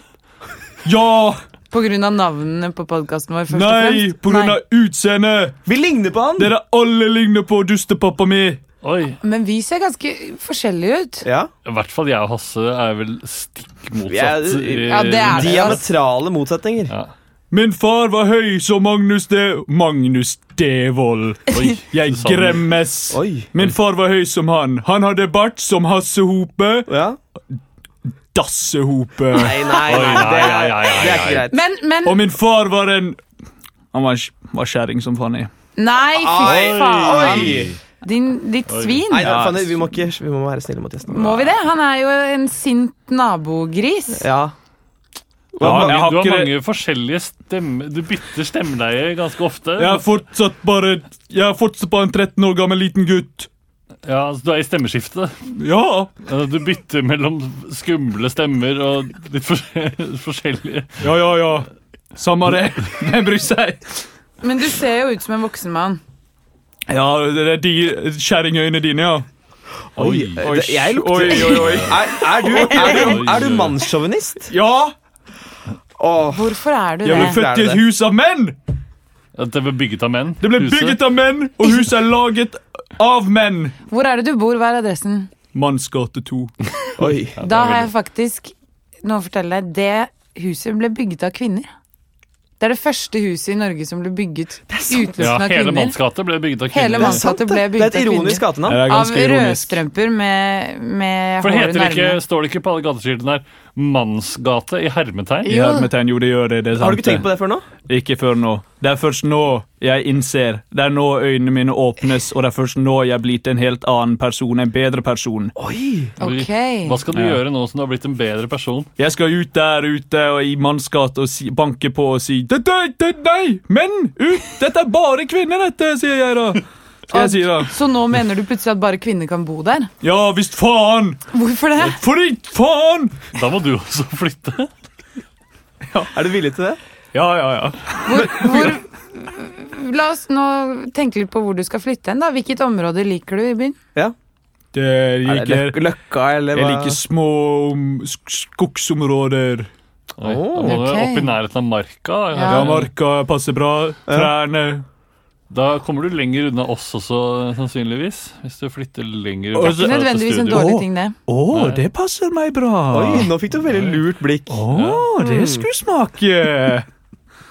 [SPEAKER 6] Ja,
[SPEAKER 2] På grunn av navnene på podkasten vår, først og
[SPEAKER 6] nei,
[SPEAKER 2] fremst?
[SPEAKER 6] på grunn av utseendet.
[SPEAKER 3] Vi ligner på han!
[SPEAKER 6] Dere alle ligner på dustepappa mi.
[SPEAKER 4] Oi,
[SPEAKER 2] Men vi ser ganske forskjellige ut.
[SPEAKER 3] Ja,
[SPEAKER 4] I hvert fall jeg og Hasse er vel stikk
[SPEAKER 3] Vi er-
[SPEAKER 4] motsatt. eh,
[SPEAKER 2] Ja, det er det.
[SPEAKER 3] Diametrale motsetninger.
[SPEAKER 4] Ja.
[SPEAKER 6] Min far var høy som Magnus De... Magnus Devold.
[SPEAKER 4] Oi,
[SPEAKER 6] Jeg
[SPEAKER 4] du sa det.
[SPEAKER 6] gremmes.
[SPEAKER 3] Oi.
[SPEAKER 6] Min far var høy som han. Han hadde bart som Hasse Hope.
[SPEAKER 3] Ja.
[SPEAKER 6] Dasse Hope.
[SPEAKER 3] Nei, nei,
[SPEAKER 4] Oi, nei,
[SPEAKER 3] nei, det,
[SPEAKER 4] nei, nei,
[SPEAKER 3] er,
[SPEAKER 4] nei,
[SPEAKER 3] det er ikke greit.
[SPEAKER 2] Men, men
[SPEAKER 6] Og min far var en
[SPEAKER 7] Han var, var kjerring som faen i.
[SPEAKER 2] Nei, fy faen!
[SPEAKER 3] Oi.
[SPEAKER 2] Din, ditt svin.
[SPEAKER 3] Nei, da, Fanny, vi må, ikke, vi må være snille mot gjestene.
[SPEAKER 2] Må vi det? Han er jo en sint nabogris.
[SPEAKER 3] Ja.
[SPEAKER 4] Du har,
[SPEAKER 6] Ja, jeg
[SPEAKER 4] mange,
[SPEAKER 6] har
[SPEAKER 4] du har
[SPEAKER 6] ikke-
[SPEAKER 4] mange forskjellige stemmer Du bytter stemmeleie ganske ofte.
[SPEAKER 6] Jeg er fortsatt bare Jeg er fortsatt bare en 13 år gammel liten gutt.
[SPEAKER 4] Ja, så Du er i stemmeskiftet.
[SPEAKER 6] Ja.
[SPEAKER 4] Eh, Du bytter mellom skumle stemmer og litt for- forskjellige
[SPEAKER 6] Ja, ja, ja. Samme det. Hvem bryr seg?
[SPEAKER 2] Men du ser jo ut som en voksen mann.
[SPEAKER 6] Ja, det er de kjerringøyene dine, ja.
[SPEAKER 4] Oi.
[SPEAKER 3] Oi, det- jeg lukter
[SPEAKER 6] Oi, oi, oi.
[SPEAKER 3] Er, er du, er du, er du mannssjåvinist?
[SPEAKER 6] Ja!
[SPEAKER 3] Åh,
[SPEAKER 2] Hvorfor er du
[SPEAKER 6] Jeg ble
[SPEAKER 2] det?
[SPEAKER 6] født i et hus av menn!
[SPEAKER 4] At det ble bygget av menn.
[SPEAKER 6] Det ble bygget av menn, og huset er laget av menn.
[SPEAKER 2] Hvor er det du bor? Hva er adressen?
[SPEAKER 6] Mannsgate 2.
[SPEAKER 3] oi.
[SPEAKER 2] Da har jeg faktisk noe å fortelle deg. Det huset ble bygget av kvinner. Det er det første huset i Norge som ble bygget
[SPEAKER 4] Ja,
[SPEAKER 2] utelukkende av
[SPEAKER 4] Hele
[SPEAKER 2] kvinner.
[SPEAKER 4] mannsgate ble bygget av
[SPEAKER 2] Hele
[SPEAKER 4] kvinner.
[SPEAKER 3] Det er sant,
[SPEAKER 2] Mannsgate
[SPEAKER 3] det.
[SPEAKER 2] ble
[SPEAKER 3] Det er et
[SPEAKER 2] bygget av
[SPEAKER 3] ironisk gatenavn.
[SPEAKER 6] Det er
[SPEAKER 2] Av
[SPEAKER 6] ganske ironisk.
[SPEAKER 2] rødstrømper med, med
[SPEAKER 4] For
[SPEAKER 2] hår
[SPEAKER 4] heter det
[SPEAKER 2] under
[SPEAKER 4] ikke,
[SPEAKER 2] armene.
[SPEAKER 4] Står det ikke på alle gateskiltene her 'Mannsgate' i hermetegn?
[SPEAKER 6] I hermetegn, jo, det gjør det. det er sant.
[SPEAKER 3] Har du ikke tenkt på det før nå?
[SPEAKER 6] Ikke før nå. Det er først nå jeg innser. Det er nå øynene mine åpnes, og det er først nå jeg er blitt en helt annen person. En bedre person.
[SPEAKER 3] Oi.
[SPEAKER 2] Ok.
[SPEAKER 4] Hva skal du
[SPEAKER 6] Ja.
[SPEAKER 4] gjøre nå som du har blitt en bedre person?
[SPEAKER 6] Jeg skal ut der ute og i mannsgata og si, banke på og si Dette er ikke- Nei! Menn! Ut! Dette er bare kvinner, dette! sier jeg da. Skal jeg si da.
[SPEAKER 2] Så nå mener du plutselig at bare kvinner kan bo der?
[SPEAKER 6] Ja visst faen!
[SPEAKER 2] Hvorfor det?
[SPEAKER 6] Fordi faen!
[SPEAKER 4] Da må du også flytte.
[SPEAKER 3] Er du villig til det?
[SPEAKER 6] Ja, ja, ja.
[SPEAKER 2] Hvor, hvor, la oss nå tenke litt på hvor du skal flytte hen. da. Hvilket område liker du i byen?
[SPEAKER 3] Ja.
[SPEAKER 6] Det
[SPEAKER 3] Er det
[SPEAKER 6] liker
[SPEAKER 3] løk løkka, eller
[SPEAKER 6] Jeg
[SPEAKER 3] hva?
[SPEAKER 6] liker små um, sk- skogsområder.
[SPEAKER 4] Oi, da må
[SPEAKER 2] Ok.
[SPEAKER 4] du opp i nærheten av marka. da.
[SPEAKER 2] Ja.
[SPEAKER 6] Ja, marka passer bra. Trærne.
[SPEAKER 4] Da kommer du lenger unna oss også, sannsynligvis. Hvis du flytter lenger
[SPEAKER 6] Og
[SPEAKER 4] bort
[SPEAKER 6] så-
[SPEAKER 4] fra
[SPEAKER 2] Ikke
[SPEAKER 4] dette
[SPEAKER 2] nødvendigvis en
[SPEAKER 4] studioet.
[SPEAKER 2] dårlig
[SPEAKER 6] Å.
[SPEAKER 2] ting, det.
[SPEAKER 6] Å, det passer meg bra.
[SPEAKER 3] Oi, nå fikk du et veldig lurt blikk.
[SPEAKER 6] Å, det skulle smake.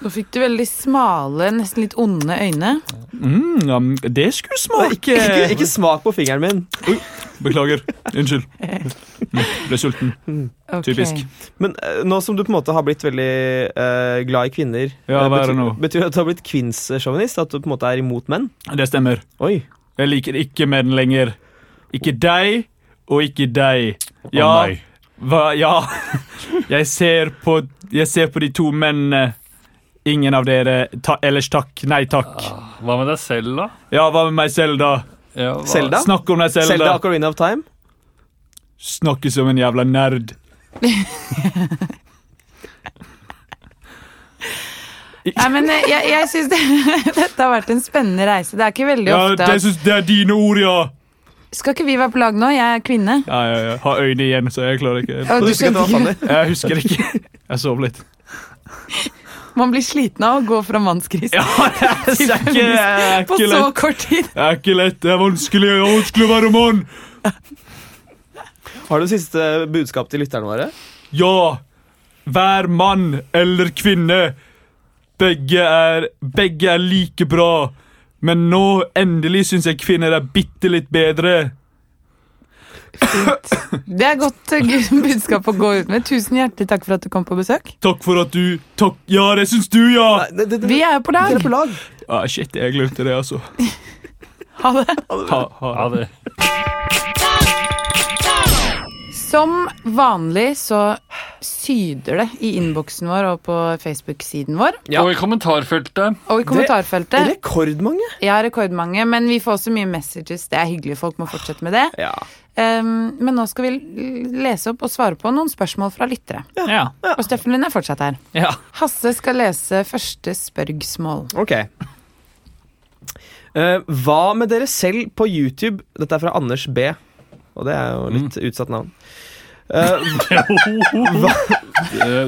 [SPEAKER 2] Nå fikk du veldig smale, nesten litt onde øyne.
[SPEAKER 6] Mm, ja, det skulle
[SPEAKER 3] Oi,
[SPEAKER 6] smake.
[SPEAKER 3] Ikke, ikke, ikke smak på fingeren min.
[SPEAKER 6] Beklager. Unnskyld. Mm, Ble sulten.
[SPEAKER 2] Ok.
[SPEAKER 6] Typisk.
[SPEAKER 3] Men eh, nå som du på en måte har blitt veldig eh, glad i kvinner
[SPEAKER 6] Ja,
[SPEAKER 3] eh,
[SPEAKER 6] hva er det
[SPEAKER 3] betyr,
[SPEAKER 6] nå?
[SPEAKER 3] betyr det at du har blitt kvinnssjåvinist? At du på en måte er imot menn?
[SPEAKER 6] Det stemmer.
[SPEAKER 3] Oi.
[SPEAKER 6] Jeg liker ikke menn lenger. Ikke deg og ikke deg.
[SPEAKER 4] Å
[SPEAKER 6] Ja,
[SPEAKER 4] nei.
[SPEAKER 6] hva, ja. Jeg ser på Jeg ser på de to mennene. Ingen av dere. Ta, ellers takk. Nei takk.
[SPEAKER 4] Hva med deg selv, da?
[SPEAKER 6] Ja, hva med meg selv, da?
[SPEAKER 4] Ja, hva-
[SPEAKER 3] Selda?
[SPEAKER 6] Snakk om deg selv,
[SPEAKER 3] Selda
[SPEAKER 6] da.
[SPEAKER 3] Ocarina of Time?
[SPEAKER 6] Snakke som en jævla nerd.
[SPEAKER 2] Nei, men eh, jeg, jeg syns det, dette har vært en spennende reise. Det er ikke veldig
[SPEAKER 5] Ja,
[SPEAKER 2] ofte
[SPEAKER 5] det,
[SPEAKER 2] at
[SPEAKER 5] synes, det er dine ord, ja!
[SPEAKER 2] Skal ikke vi være på lag nå? Jeg er kvinne.
[SPEAKER 6] Ja, ja, ja. Har øynene igjen, så jeg klarer ikke.
[SPEAKER 2] Og du
[SPEAKER 3] Husker at det
[SPEAKER 2] skjønte
[SPEAKER 3] var
[SPEAKER 2] ikke
[SPEAKER 3] Fanny.
[SPEAKER 6] Jeg husker ikke. Jeg sov litt.
[SPEAKER 2] Man blir sliten av å gå fra mannskrise
[SPEAKER 6] Ja, det er ikke, det er
[SPEAKER 2] på
[SPEAKER 6] ikke
[SPEAKER 2] så
[SPEAKER 6] lett.
[SPEAKER 2] kort tid.
[SPEAKER 5] Det er ikke lett, det er vanskelig, det er vanskelig å være mann!
[SPEAKER 3] Har du siste budskap til lytterne våre?
[SPEAKER 5] Ja, hver mann eller kvinne. Begge er, begge er like bra. Men nå endelig syns jeg kvinner er bitte litt bedre.
[SPEAKER 2] Det er godt eh, gu- budskap å gå ut med. Tusen hjertelig takk for at du kom på besøk.
[SPEAKER 5] Takk for at du Takk, Ja, det syns du, ja!
[SPEAKER 3] Nei, det, det,
[SPEAKER 2] Vi er jo på lag.
[SPEAKER 3] dere er på lag.
[SPEAKER 5] Ah, shit, jeg glemte det, altså.
[SPEAKER 2] Ha det.
[SPEAKER 5] Ha, ha.
[SPEAKER 4] Ja, det.
[SPEAKER 2] Som vanlig så syder det i innboksen vår og på Facebook-siden vår.
[SPEAKER 3] Ja.
[SPEAKER 4] Og i kommentarfeltet
[SPEAKER 2] Og i kommentarfeltet.
[SPEAKER 3] Rekordmange.
[SPEAKER 2] Jeg har rekordmange, men vi får også mye messages. Det er hyggelig. Folk må fortsette med det.
[SPEAKER 3] Ja.
[SPEAKER 2] Um, men nå skal vi l- lese opp og svare på noen spørsmål fra lyttere.
[SPEAKER 6] Ja,
[SPEAKER 2] Og Steffen Lund er fortsatt her.
[SPEAKER 6] ja.
[SPEAKER 2] Hasse skal lese første spørsmål.
[SPEAKER 3] Ok. Eh, hva med dere selv på YouTube? Dette er fra Anders B. Og det er jo litt utsatt navn. Eh,
[SPEAKER 4] eh,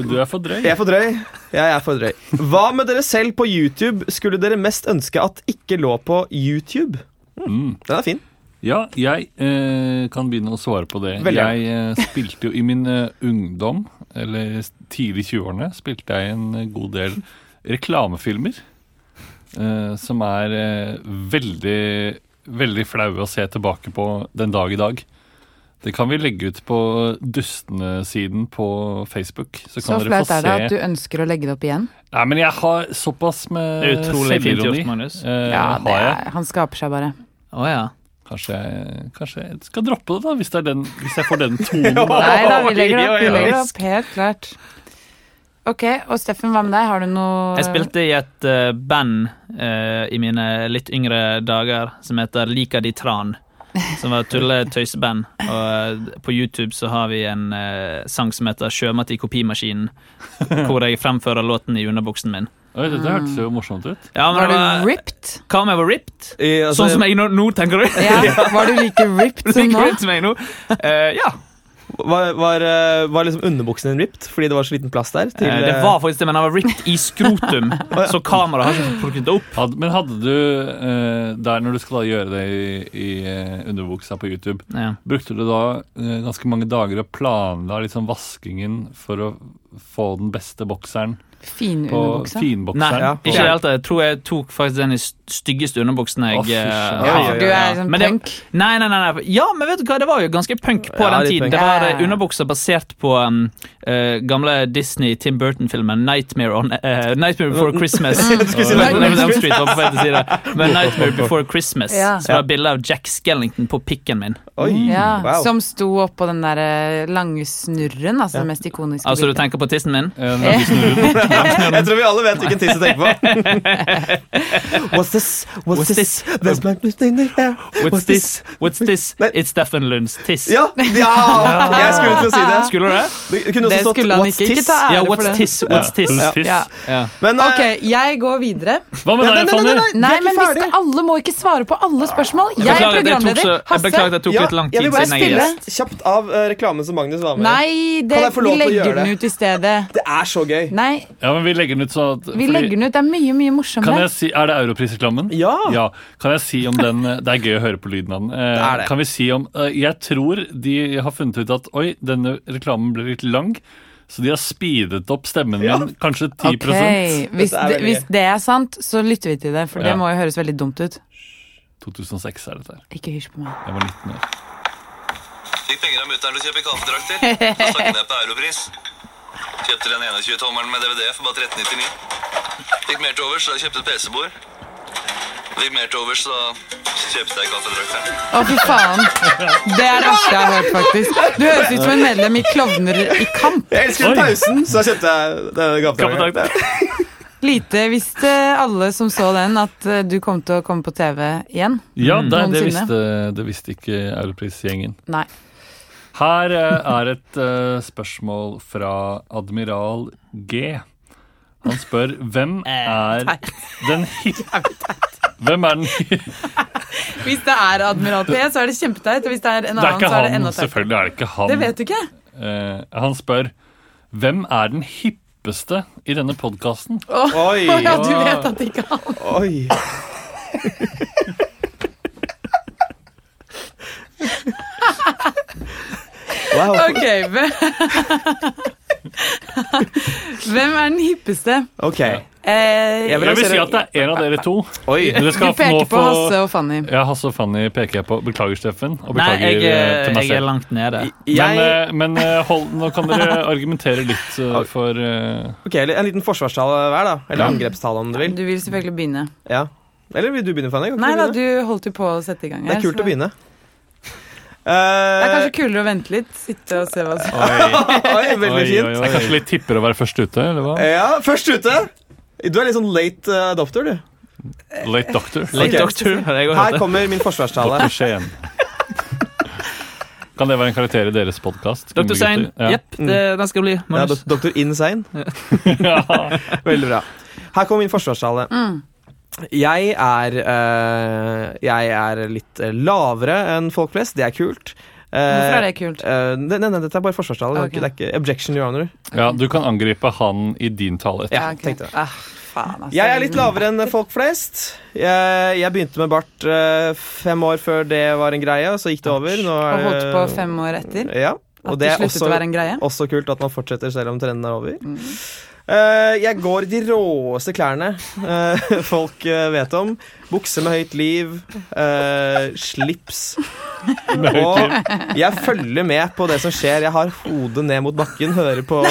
[SPEAKER 4] Du er for drøy.
[SPEAKER 3] jeg er for drøy. Jeg er for drøy. Hva med dere selv på YouTube skulle dere mest ønske at ikke lå på YouTube?
[SPEAKER 4] Mm.
[SPEAKER 3] Den er fin.
[SPEAKER 4] Ja, jeg eh, kan begynne å svare på det.
[SPEAKER 3] Veldig gjerne.
[SPEAKER 4] Jeg eh, spilte jo i min eh, ungdom, eller s- tidlig 20-årene, spilte jeg en eh, god del reklamefilmer. Eh, som er eh, veldig, veldig flaue å se tilbake på den dag i dag. Det kan vi legge ut på Dustene-siden på Facebook. Så
[SPEAKER 2] Så
[SPEAKER 4] kan dere
[SPEAKER 2] flaut
[SPEAKER 4] få
[SPEAKER 2] er det at
[SPEAKER 4] se.
[SPEAKER 2] du ønsker å legge det opp igjen.
[SPEAKER 4] Nei, men jeg har såpass med
[SPEAKER 6] Det er utrolig fint
[SPEAKER 4] selvironi,
[SPEAKER 6] gjort, Magnus.
[SPEAKER 4] eh,
[SPEAKER 2] Ja, det
[SPEAKER 4] har jeg.
[SPEAKER 2] er, Han skaper seg bare.
[SPEAKER 6] Å ja.
[SPEAKER 4] Kanskje, kanskje jeg skal droppe det, da, hvis, det er den, hvis jeg får den tonen. der.
[SPEAKER 2] Nei da, vi legger det opp.
[SPEAKER 3] Oi,
[SPEAKER 2] Vi
[SPEAKER 3] oi, oi.
[SPEAKER 2] legger det opp, Helt klart. Ok, og Steffen, hva med deg? Har du noe
[SPEAKER 6] Jeg spilte i et eh, band eh, i mine litt yngre dager som heter Lika di Tran. Som var et tulletøyseband. Og eh, på YouTube så har vi en eh, sang som heter 'Sjømat i kopimaskinen'. Hvor jeg fremfører låten i underbuksen min.
[SPEAKER 4] Oi, dette hørtes jo morsomt ut.
[SPEAKER 6] Ja, men
[SPEAKER 2] Var
[SPEAKER 6] det
[SPEAKER 2] du
[SPEAKER 6] var,
[SPEAKER 2] ripped?
[SPEAKER 6] hva om jeg var ripped?
[SPEAKER 3] I, altså,
[SPEAKER 6] Sånn som jeg nå, nå tenker du?
[SPEAKER 2] Ja, Var du like ripped som
[SPEAKER 6] Like
[SPEAKER 2] nå?
[SPEAKER 6] ripped som jeg nå? Eh, ja.
[SPEAKER 3] Var, var, eh, var liksom underbuksen din ripped fordi det var så liten plass der? til,
[SPEAKER 6] Eh, det
[SPEAKER 3] eh,
[SPEAKER 6] var faktisk det, men han var ripped i skrotum. Så kameraet har ikke plukket det opp.
[SPEAKER 4] Had, men hadde du, eh, der når du skal da gjøre det i, i eh, underbuksa på YouTube,
[SPEAKER 6] Ja.
[SPEAKER 4] brukte du da eh, ganske mange dager å planla liksom vaskingen for å få den beste bokseren
[SPEAKER 2] Fin
[SPEAKER 4] på
[SPEAKER 2] underbukse.
[SPEAKER 6] Nei,
[SPEAKER 4] finbokseren?
[SPEAKER 3] Ja.
[SPEAKER 6] ikke i det hele tatt. Jeg tror jeg tok faktisk den i st- styggeste underbuksen jeg
[SPEAKER 4] Å, fy
[SPEAKER 6] eh,
[SPEAKER 4] søren.
[SPEAKER 3] Ja, ja,
[SPEAKER 6] har.
[SPEAKER 3] ja.
[SPEAKER 2] Du er sånn
[SPEAKER 6] Men det-
[SPEAKER 2] punk.
[SPEAKER 6] Nei, nei, nei, nei. Ja, men vet du hva, det var jo ganske punk på
[SPEAKER 3] Ja,
[SPEAKER 6] den
[SPEAKER 3] litt
[SPEAKER 6] tiden.
[SPEAKER 3] punk.
[SPEAKER 6] Det var
[SPEAKER 2] Ja, ja,
[SPEAKER 6] eh,
[SPEAKER 2] ja.
[SPEAKER 6] underbukser basert på um, eh, gamle Disney Tim Burton-filmen Nightmare, on, eh, Nightmare Before Christmas.
[SPEAKER 3] Jeg skulle si
[SPEAKER 6] Og-
[SPEAKER 3] Nightmare
[SPEAKER 6] Nei, men
[SPEAKER 3] Before
[SPEAKER 6] Elm Street var på feil side. Men Nightmare Before Christmas,
[SPEAKER 2] Ja.
[SPEAKER 6] som var bilde av Jack Skellington på pikken min.
[SPEAKER 3] eh, Oi,
[SPEAKER 2] Ja,
[SPEAKER 3] wow.
[SPEAKER 2] Som sto oppå den der eh, lange snurren, altså det mest ikoniske
[SPEAKER 6] Altså, du
[SPEAKER 2] bildet.
[SPEAKER 6] tenker på tissen min?
[SPEAKER 4] En,
[SPEAKER 3] Jeg tror vi alle vet hvilken tiss du tenker på. What's this? What's,
[SPEAKER 6] What's
[SPEAKER 3] this? There's black people in there.
[SPEAKER 6] What's this? What's this?
[SPEAKER 3] Nei.
[SPEAKER 6] It's Steffen Lunds tiss.
[SPEAKER 3] Ja, ja! Jeg skulle til å si det.
[SPEAKER 6] Skulle du det?
[SPEAKER 3] Det kunne også
[SPEAKER 2] Det
[SPEAKER 3] stått
[SPEAKER 2] skulle han
[SPEAKER 3] what's
[SPEAKER 2] ikke. Ikke
[SPEAKER 3] tiss.
[SPEAKER 2] ta ære
[SPEAKER 6] Ja,
[SPEAKER 2] for
[SPEAKER 6] what's
[SPEAKER 2] det.
[SPEAKER 6] tiss? What's tiss?
[SPEAKER 4] en tiss.
[SPEAKER 2] Ja.
[SPEAKER 6] Ja.
[SPEAKER 3] Men, eh,
[SPEAKER 2] Ok, jeg går videre.
[SPEAKER 4] Hva med
[SPEAKER 3] Nei, nei,
[SPEAKER 4] deg,
[SPEAKER 3] nei,
[SPEAKER 4] Fanny?
[SPEAKER 3] nei, nei, vi er
[SPEAKER 2] Nei,
[SPEAKER 3] ikke
[SPEAKER 2] men hvis
[SPEAKER 3] ferdig.
[SPEAKER 2] det, alle må ikke svare på alle spørsmål. Jeg er
[SPEAKER 6] Beklager at jeg tok så-
[SPEAKER 2] programleder.
[SPEAKER 6] jeg
[SPEAKER 2] Hasse.
[SPEAKER 6] beklager at det tok
[SPEAKER 3] Ja,
[SPEAKER 6] litt lang
[SPEAKER 3] jeg
[SPEAKER 6] tid
[SPEAKER 3] vil bare
[SPEAKER 6] siden jeg er
[SPEAKER 2] stille.
[SPEAKER 6] gjest.
[SPEAKER 3] Kjapt av eh, reklamen som Magnus var med i.
[SPEAKER 2] Nei, det,
[SPEAKER 3] Kan jeg få
[SPEAKER 2] vi
[SPEAKER 3] lov til å gjøre
[SPEAKER 2] legger den
[SPEAKER 3] det?
[SPEAKER 2] ut i stedet.
[SPEAKER 3] Det er så gøy.
[SPEAKER 2] Nei,
[SPEAKER 4] Ja, men vi legger den ut sånn at
[SPEAKER 2] vi
[SPEAKER 4] fordi-
[SPEAKER 2] legger den ut. Det er mye, mye
[SPEAKER 4] Kan jeg
[SPEAKER 2] morsommere.
[SPEAKER 4] si, er det Europris-reklamen?
[SPEAKER 3] Ja.
[SPEAKER 4] Kan jeg si om den eh, Det er gøy å høre på lyden av den. Eh,
[SPEAKER 3] Det er det.
[SPEAKER 4] Kan vi si om eh, Jeg tror de har funnet ut at oi, denne reklamen ble litt lang, så de har speedet opp stemmen
[SPEAKER 3] Ja.
[SPEAKER 4] min kanskje 10
[SPEAKER 2] Ok, hvis,
[SPEAKER 3] Dette er
[SPEAKER 2] det,
[SPEAKER 3] veldig
[SPEAKER 2] hvis
[SPEAKER 3] gøy.
[SPEAKER 2] det er sant, så lytter vi til det, for det
[SPEAKER 4] Ja.
[SPEAKER 2] må jo høres veldig dumt ut.
[SPEAKER 4] 2006 er dette her.
[SPEAKER 2] Ikke hysj på meg.
[SPEAKER 4] Jeg var 19 år.
[SPEAKER 8] Fikk penger av mutter'n til å kjøpe kaffedrakter. Og stakk ned på europris. Kjøpte den 21-tommeren med DVD for bare 1399. Fikk mer til overs, så jeg kjøpte et PC-bord. Fikk mer til overs, så kjøpte jeg kaffedrakteren.
[SPEAKER 2] Å, fy faen. Det er det verste jeg har hørt, faktisk. Du høres ut som en medlem i Klovner i kamp.
[SPEAKER 3] Jeg elsker
[SPEAKER 4] Oi.
[SPEAKER 3] pausen, så jeg kjøpte denne gavepakken.
[SPEAKER 2] Lite visste alle som så den, at eh, du kom til å komme på TV igjen.
[SPEAKER 4] Ja,
[SPEAKER 3] Mm.
[SPEAKER 4] det, det,
[SPEAKER 2] Noensinne.
[SPEAKER 4] visste, det visste ikke Europris-gjengen.
[SPEAKER 2] Nei.
[SPEAKER 4] Her eh, er et eh, spørsmål fra Admiral G. Han spør hvem
[SPEAKER 3] Eh,
[SPEAKER 4] er den hi- Hvem er den hi-
[SPEAKER 2] Hvis det er Admiral P, så er det kjempeteit. Og hvis det er en
[SPEAKER 4] Det er
[SPEAKER 2] annen,
[SPEAKER 4] ikke
[SPEAKER 2] så er det
[SPEAKER 4] han,
[SPEAKER 2] enda teit.
[SPEAKER 4] selvfølgelig er det ikke han.
[SPEAKER 2] Det vet du ikke.
[SPEAKER 4] Eh, han spør hvem er den hippeste i denne podkasten.
[SPEAKER 3] Oi,
[SPEAKER 2] Å ja, du vet at det ikke er han.
[SPEAKER 3] oi. Wow.
[SPEAKER 2] Ok, hvem Hvem er den hippeste?
[SPEAKER 3] OK.
[SPEAKER 2] Eh,
[SPEAKER 3] Jeg
[SPEAKER 4] Jeg vil si at det er en av dere to.
[SPEAKER 3] Oi.
[SPEAKER 4] Dere
[SPEAKER 2] du
[SPEAKER 4] skal nå
[SPEAKER 2] peker på
[SPEAKER 4] få-
[SPEAKER 2] Hasse og Fanny.
[SPEAKER 4] Ja, Hasse og Fanny peker jeg på. Beklager, Steffen. Og
[SPEAKER 6] Nei,
[SPEAKER 4] beklager
[SPEAKER 6] jeg,
[SPEAKER 4] eh, til meg
[SPEAKER 6] jeg er
[SPEAKER 4] selv.
[SPEAKER 6] langt nede.
[SPEAKER 3] Jeg,
[SPEAKER 4] Men, eh, men eh, hold, nå kan dere argumentere litt eh, for eh,
[SPEAKER 3] ok, En liten forsvarstale hver, da. Eller angrepstale, om du vil.
[SPEAKER 2] Du vil selvfølgelig begynne.
[SPEAKER 3] Ja. Eller vil du begynne, Fanny? Kan ikke
[SPEAKER 2] Nei
[SPEAKER 3] du
[SPEAKER 2] da,
[SPEAKER 3] begynne?
[SPEAKER 2] du holdt jo på å sette i gang
[SPEAKER 3] Det
[SPEAKER 2] her.
[SPEAKER 3] er kult
[SPEAKER 2] så-
[SPEAKER 3] å begynne.
[SPEAKER 2] Det er
[SPEAKER 3] Eh, ah,
[SPEAKER 2] kanskje kulere å vente litt. Sitte og se hva som
[SPEAKER 3] oi, veldig
[SPEAKER 4] Oi,
[SPEAKER 3] fint.
[SPEAKER 4] oi, oi. Det er kanskje litt tipper å være først ute, eller hva?
[SPEAKER 3] Ja, først ute. Du er litt sånn late eh, adopter, du.
[SPEAKER 2] Eh,
[SPEAKER 4] Late doctor.
[SPEAKER 3] Ok.
[SPEAKER 6] Late Doctor. har jeg også hørt
[SPEAKER 3] Her
[SPEAKER 6] det.
[SPEAKER 3] kommer min forsvarstale.
[SPEAKER 4] Dr. Skien. Kan det være en karakter i deres podkast?
[SPEAKER 6] Dr. Sein.
[SPEAKER 4] Mm. Ja.
[SPEAKER 6] Jepp, det- den skal bli.
[SPEAKER 3] Mm. Ja,
[SPEAKER 6] Magnus.
[SPEAKER 3] dok- Doktor Insane. Veldig bra. Her kommer min forsvarstale.
[SPEAKER 2] Mm,
[SPEAKER 3] Jeg er eh, Jeg er litt eh, lavere enn folk flest. Det er kult. Eh,
[SPEAKER 2] Hvorfor er det kult?
[SPEAKER 3] eh, nei, nei, nei, dette er bare forsvarstale. Det er
[SPEAKER 2] Ok.
[SPEAKER 3] ikke- Det er ikke objection, your honor.
[SPEAKER 4] ja, Du kan angripe han i din tale etterpå.
[SPEAKER 3] Ja,
[SPEAKER 2] ok.
[SPEAKER 3] tenkte jeg.
[SPEAKER 2] Ah, faen, altså.
[SPEAKER 3] Jeg er litt lavere enn folk flest. Jeg, jeg begynte med bart eh, fem år før det var en greie, og så gikk det over. Nå er
[SPEAKER 2] Og holdt
[SPEAKER 3] det-
[SPEAKER 2] på fem år etter.
[SPEAKER 3] Ja, eh, og
[SPEAKER 2] At
[SPEAKER 3] det
[SPEAKER 2] det
[SPEAKER 3] er
[SPEAKER 2] sluttet
[SPEAKER 3] også,
[SPEAKER 2] å være en greie.
[SPEAKER 3] også kult at man fortsetter selv om trenden er over. Eh, jeg går i de råeste klærne eh, folk eh, vet om. Bukse med høyt liv, eh, slips. Og jeg følger med på det som skjer. Jeg har hodet ned mot bakken, hører på